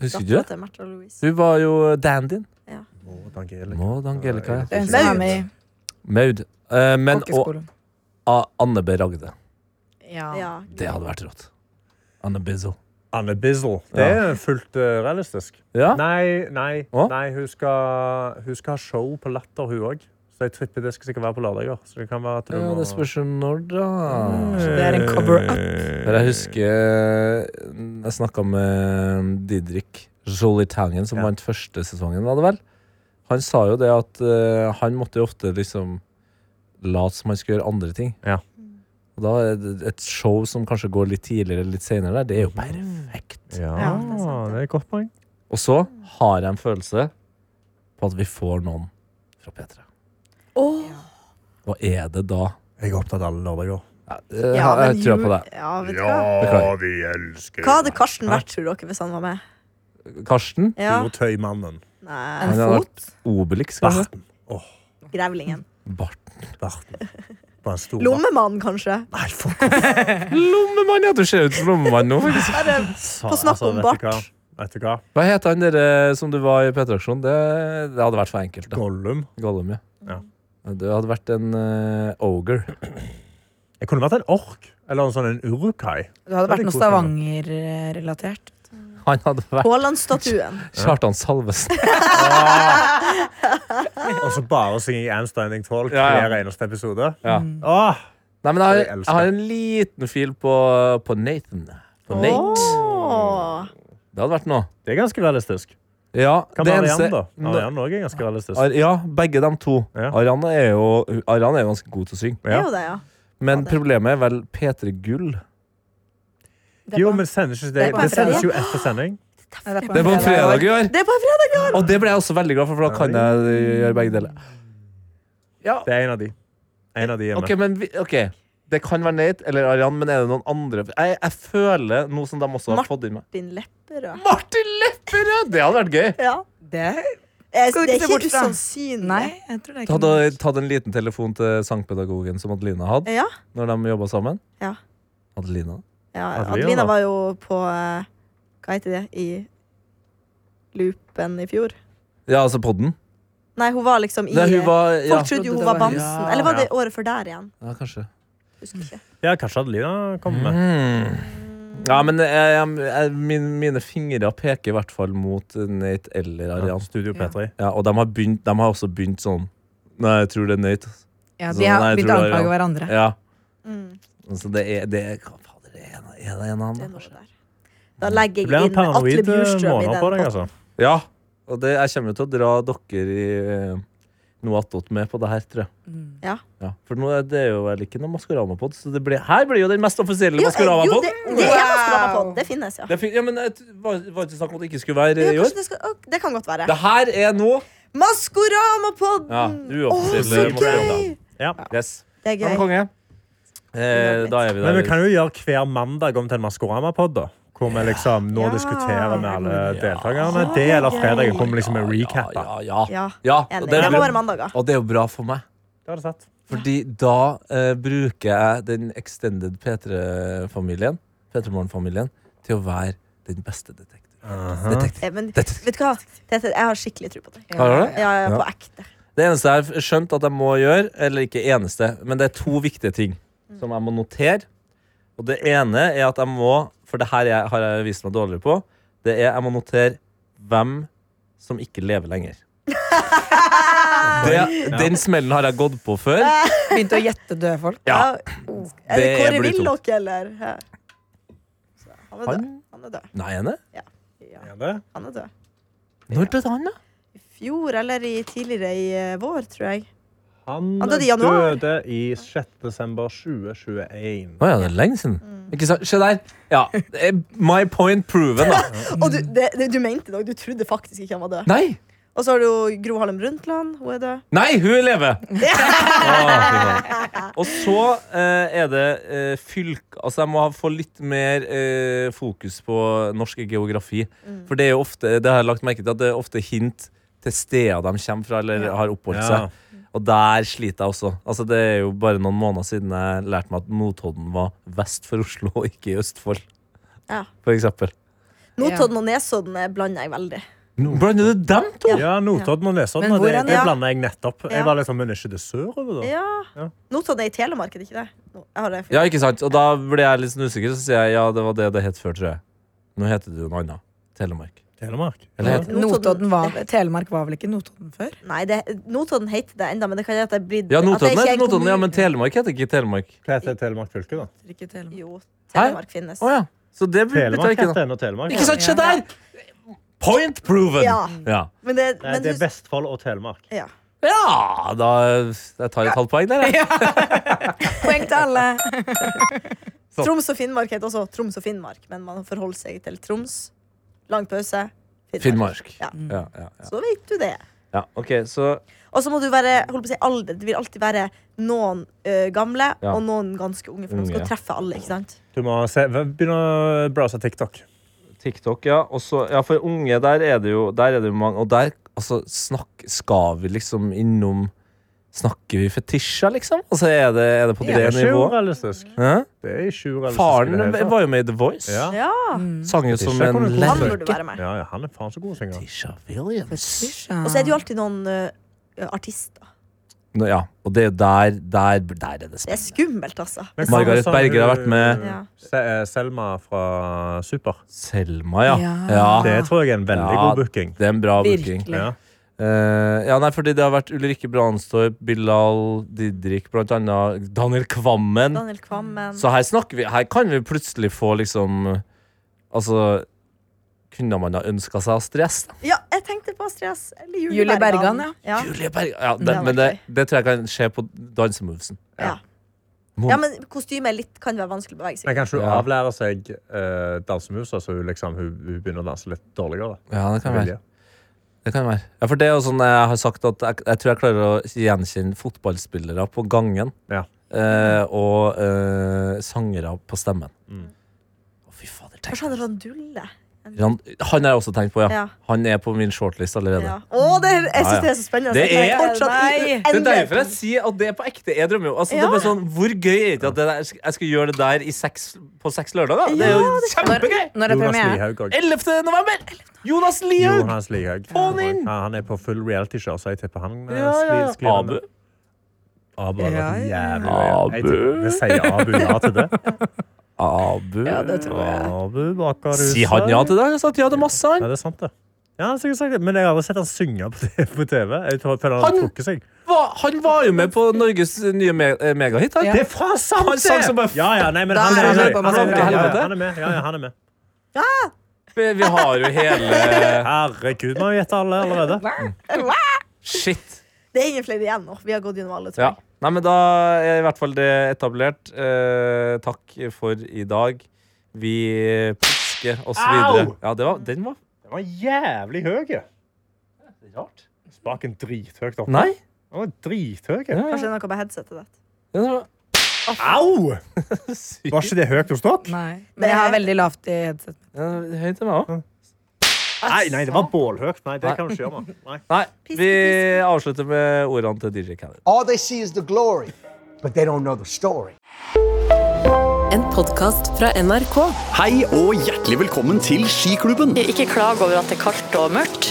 husker du det?
Dattera til Märtha Louise.
Hun var jo dandyen.
Maud Angelica.
Maud Angelica. ja.
Den som er med i
Maud. Eh, men og
kokkeskolen.
A- Anne B. Ragde.
Ja.
Ja.
Det hadde vært rått. Anne Bizzle.
Anne Bizzle. Det er fullt eh, realistisk.
Ja.
Nei, nei,
Å?
nei hun, skal, hun skal ha show på Latter, hun òg. Så jeg tripper det skal sikkert være på lørdager. Så det kan være at hun
Ja,
må- Mm.
det Mm. spørs jo når, da.
Så det er en cover-up.
Eh,
For jeg husker eh, jeg snakka med Didrik Jolitangen, som
Ja.
vant første sesongen, var det vel? Han sa jo det at eh, han måtte jo ofte liksom late som han skulle gjøre andre ting.
Ja.
Og da er det et show som kanskje går litt tidligere eller litt senere der, det er jo perfekt.
Ja,
Ja, det er sant, det.
det er et godt poeng.
Og så har jeg en følelse på at vi får noen fra P3.
Åh,
Og er det da
Jeg er opptatt av alle lørdager.
Jeg, eh, jeg
men
tror
jul-
på deg.
Ja, vet du hva?
Beklager.
vi elsker
Hva hadde Karsten vært, tror dere, hvis han var med?
Karsten?
Ja.
Tøymannen.
Nei,
En
Han hadde
fot?
Obelix? kanskje?
Barten.
Grevlingen.
Barten.
Barten. Bare en stor
Lommemannen, kanskje.
Nei, fuck off.
Lommemann, ja! Du ser ut som lommemann nå. faktisk.
Bare Få snakke om
altså, vet
bart.
du hva? Vet du hva?
Hva het han der eh, som du var i P3-aksjonen? Det, det hadde vært for enkelt. da.
Gollum.
Gollum, ja.
Ja.
Det hadde vært en eh, ogre.
Jeg kunne vært en ork. Eller en sånn en urukai.
Du hadde vært
Det er
noe
litt koselig, da.
Stavanger-relatert.
Han hadde vært
Haaland-statuen.
Kjartan Salvesen.
Ah.
Og så bare synge i én standing tolk
Ja, ja.
hver eneste episode. Ah,
Ja.
Åh,
Nei, men jeg, har-
Jeg elsker.
jeg har en liten fil på, på Nathan. På Nate.
Åh.
Det hadde vært noe.
det er ganske realistisk.
Ja,
Hva
det
med Arian,
eneste-
da? Arian også er ganske realistisk.
Ar ja, begge de to.
Ja.
Arian er jo Arian er jo ganske god til å synge.
Det
Ja.
er jo det, ja.
Men problemet er vel P3 Gull.
Det er
Jo,
på-
men sendes ikke
Det
det.
er på en
Det sendes
fredag.
jo etter sending.
Nei, det er på
Det
en
var på
fredag.
fredag i år!
Det er bare fredag! ja.
Og det ble jeg også veldig glad for, for da kan jeg gjøre begge deler. Ja,
Det er en av de. En av de hjemme.
ok, men vi, ok Det kan være Nate eller Arian, men er det noen andre? Jeg, jeg føler noe som de også har
Martin.
fått inn med.
Din Lepperød.
Martin Lepperød! Det hadde vært gøy.
Ja.
Det?
Eh,
Skal du
Det er
ikke se
ikke
bort fra?
usannsynlig.
Nei, jeg tror det
Du
er
hadde
ikke
jeg tatt en liten telefon til sangpedagogen som Adelina hadde
Ja.
når de jobba sammen.
Ja.
Adelina.
ja.
Adelina,
Adelina
da.
var jo på eh, Hva heter det? I loopen i fjor.
Ja, altså podden.
Nei, hun var liksom i
Nei, hun
eh,
var, ja.
Folk trodde jo hun var Bamsen. Eller var det året før der igjen?
Ja, kanskje.
Husker ikke.
Ja, kanskje Adelina kommer med.
Mm. Ja, men jeg, jeg, jeg, min, mine fingre peker i hvert fall mot Nate eller
Ja,
Arian.
Studio P3.
Ja, og de har, begynt, de har også begynt sånn Nei, jeg tror det er Nate.
Ja,
Så,
de har
nei, jeg
begynt
tror
å
det er
anklage
Arian.
hverandre.
Ja.
Mm,
Så det er det er, hva fader, er, en- er det en av
det er
dem?
noe
kanskje?
der. Da legger
Det ble
jeg
en
inn Atle
paranoid eh,
Bjurstrøm i
måned
den.
på deg,
potten.
altså.
Ja. Og det, jeg kommer jo til å dra dere i eh, noe attåt med på det her, tror jeg.
Mm.
Ja, for nå er det jo vel ikke noe Maskorama-pod, så det blir, her blir jo den mest offisielle
Jo, eh, jo, det,
Maskorama-pod.
det er
Wow.
Maskorama-pod. Det finnes, ja.
Det er fint. Ja, men jeg t- var var ikke snakk om at det ikke skulle være
Ja,
eh, i
kanskje
år.
det, skal, å, det kan godt være.
Det her er nå Ja,
Maskorama-podden!
uoffisielle
Å, så gøy!
Maskorama.
Ja.
Yes.
Det er
Ja, men
gøy.
konge. Eh, da er vi
Men vi
der.
kan jo gjøre hver mandag om til en Maskorama-pod, da. Hvor vi liksom nå
Ja.
diskuterer med alle deltakerne.
Ja.
Det eller fredagen kommer liksom en
Ja,
recap. da.
ja, ja.
Ja,
ja og,
enig.
det
Det
er
må
bra.
være mandager.
og det er jo bra for meg.
Det har du sett.
Fordi da eh, bruker jeg den extended P3-familien P3-morgen-familien til å være den beste detektiv. detektiv.
Eh, Men
Dette-
vet du hva? Tete, jeg har skikkelig tro på deg.
Har du det?
Ja, ja,
Ja.
på ekte.
Det eneste jeg har skjønt at jeg må gjøre, eller ikke eneste, men det er to viktige ting som jeg må notere. Og det ene er at jeg må, for det her jeg, har jeg vist meg dårligere på, det er jeg må notere hvem som ikke lever lenger. Det, den smellen har jeg gått på før.
Begynte å gjette døde folk.
Ja.
Er det
Det
Kåre
blir tungt.
Willoch, eller? Ja. Så, Han er død.
Han?
Han er død.
Nei, henne?
Ja,
Er det?
han er død.
Når døde han, da?
I fjor eller i tidligere i eh, vår, tror jeg.
Han
Han døde i januar.
døde i 6. desember 2021.
Å ja, det er lenge siden. Ikke sant? Se der. Ja. det er My point proven, da.
Og du, det, det, du mente noe. Du trodde faktisk ikke han var død.
Nei!
Og så har du jo Gro Harlem Brundtland. Hun er død.
Nei, hun lever! Å, fy faen. og så eh, er det eh, fylk... Altså, jeg må ha- få litt mer eh, fokus på norsk geografi. For det er jo ofte Det har jeg lagt merke til at det er ofte hint til steder de kommer fra eller har oppholdt
Ja.
seg. Og der sliter jeg også. Altså, det er jo bare noen måneder siden jeg lærte meg at Notodden var vest for Oslo og ikke i Østfold,
Ja.
for eksempel.
Notodden og Nesodden eh, blander jeg veldig.
Blander du dem to?
Ja, Notodden og Nesodden.
Men
og Det,
hvor er
det
den?
blanda jeg nettopp.
Ja.
Jeg var liksom, Men er ikke det sørover, da?
Ja.
Ja.
Notodden er i Telemark, er det ikke det? Nå- Jeg har det.
Ja, ikke sant? Og da ble jeg litt sånn usikker, så sier jeg ja, det var det det het før, tror jeg. Nå heter det jo noe annet. Telemark.
Telemark?
Eller
Ja.
heter
Notodden var, Telemark var vel ikke Notodden før?
Nei, det, Notodden heter det enda, men det kan hende at det er blitt
Ja,
at det
Notodden
ikke er
heter
en
Notodden, ja,
kommune.
men Telemark heter ikke Telemark.
Hva heter Telemark fylke, da?
Ikke Telemark.
Jo, Telemark finnes.
Å ja. Så det bytter
Telemark
ikke
heter
da.
ennå Telemark.
Ikke sant, se der! Point proven!
Ja.
Ja,
Men det,
Nei,
men
det er
du-
Vestfold og Telemark.
ja.
Ja, da Jeg tar et halvt poeng der, jeg.
Poeng til alle!
Sånn.
Troms og Finnmark heter også Troms og Finnmark, men man forholder seg til Troms. Lang pause.
Finnmark. Mm. Ja,
Ja.
ja, ja.
Så vet du det.
Ja, ok, så
Og så må du være holdt på å si, alder. Det vil alltid være noen ø, gamle
Ja.
og noen ganske unge, for de
Unge,
skal
ja.
treffe alle. ikke sant?
Du må se, begynne å browse TikTok.
TikTok, ja. Og så, ja, for unge, der er det jo der er det jo mange. Og der altså, snakk, skal vi liksom innom Snakker vi fetisjer, liksom? Altså, Er det, er det på
Det er
det
ikke
nivået?
urealistisk.
Hæ?
Det er ikke urealistisk. i
Faren
det hele tatt.
var jo med i The Voice.
Ja.
Ja,
Sang jo som
Fetisjer
en
Han
kan du komme
lerk.
burde være med.
Ja, ja, han er faen så god å synge.
Tisha Williams.
Og
Og så er det jo alltid noen ø, artister.
Nå, ja, og det er der, der, der er det
Det er
spennende.
skummelt, altså.
Men hva
Margaret
med sånn,
Berger har vært med.
uh,
Ja.
Se- eh, Selma fra Super.
Selma, ja.
Ja.
ja.
Det tror jeg er en veldig
Ah. Ja.
god booking.
Det er en bra booking.
Virkelig.
Ja.
Eh, ja, nei, fordi det har vært Ulrikke Brandstorp, Bilal Didrik, blant annet Daniel Kvammen.
Daniel Kvammen.
Så her snakker vi Her kan vi plutselig få liksom Altså Kunne man ha ønska seg Astrid S? da?
Ja, jeg tenkte på Astrid S. Eller Julie,
Julie Bergan,
Bergan. ja.
Julie Berg ja,
Det
det,
hadde
Men det,
vært
det tror jeg kan skje på dansemovesen.
Ja.
Må-
Ja, men kostyme er litt, kan være vanskelig å bevege seg i.
Men kanskje hun
Ja.
avlærer seg uh, dansemuser, så hun, liksom, hun, hun begynner å danse litt dårligere.
Ja, det kan
Med
være.
vilje.
Det kan være. Ja, for det er jo sånn jeg har sagt at jeg, jeg tror jeg klarer å gjenkjenne fotballspillere på gangen.
Ja.
Eh, og eh, sangere på stemmen.
Mm.
Å, fy fader,
Kanskje han
tenk.
er sånn Randulle?
Han, han har jeg også tenkt på, ja.
Ja.
Han er på min shortlist allerede.
Ja. Å, det, er- jeg
Ja, ja.
syns det er så spennende.
Det
Jeg
er-
fortsatt i-
Nei.
Det er
endelig.
derfor jeg sier at det er på ekte. Jeg drømmer jo. Altså, det
Ja.
er bare sånn, hvor gøy er det ikke at det der, jeg skal gjøre det der i seks, på seks lørdager? Det er jo
Ja, det
Når,
kjempegøy!
når er
Jonas
premieren?
Lihaug òg.
11. november! Jonas Lihaug!
Jonas Lihaug.
Få han inn!
Ja, han er på full realityshow, så jeg tipper han eh,
Ja, ja, ja.
skli- sklir
Abu.
med. Abu har vært jævlig
Abu.
Jeg tipper- Vi sier Abu ja til det.
Abu.
Abu baker huset.
Sier han ja til det? Jeg sa at ja til masse,
Ja,
han.
det er sant, det. Ja, han har sikkert sagt det. Men jeg har aldri sett han synge på TV. På TV. Jeg tror, føler han har
Han-
trukket seg.
Hva- Han var jo med på Norges nye me eh, megahit, han.
Det er fra
Han sang som bare-
Ja, ja, nei, men
Da
han
er
er
han
med.
med på
Han er med.
Masterchef.
Ja, ja, han er med. Ja, ja, han er med.
Vi vi har jo hele
Herregud, vi har gjetta alle allerede.
Shit.
Det er ingen flere igjen nå. Vi har gått gjennom alle, tror
Ja.
jeg.
Nei, men da er i hvert fall det etablert. Eh, takk for i dag. Vi pisker oss videre. Ja, det var, den var
Den var jævlig høy.
rart.
Spaken drithøyt opp.
Nei.
Den var drithøy.
Kanskje det er noe med headsetet ditt.
Den var
Au!
sykt
Var ikke det høyt hos dere?
Nei. Men jeg har veldig lavt i headset.
høy til meg òg.
Nei, nei, det var bålhøyt. Nei, det
Nei.
kan du ikke gjøre, mann. Nei.
Nei, vi
piske.
avslutter med ordene til DJ Khaled.
All they see is the glory, but they don't know the story.
En podkast fra NRK.
Hei og hjertelig velkommen til Skiklubben.
Ikke klag over at det er kaldt og mørkt,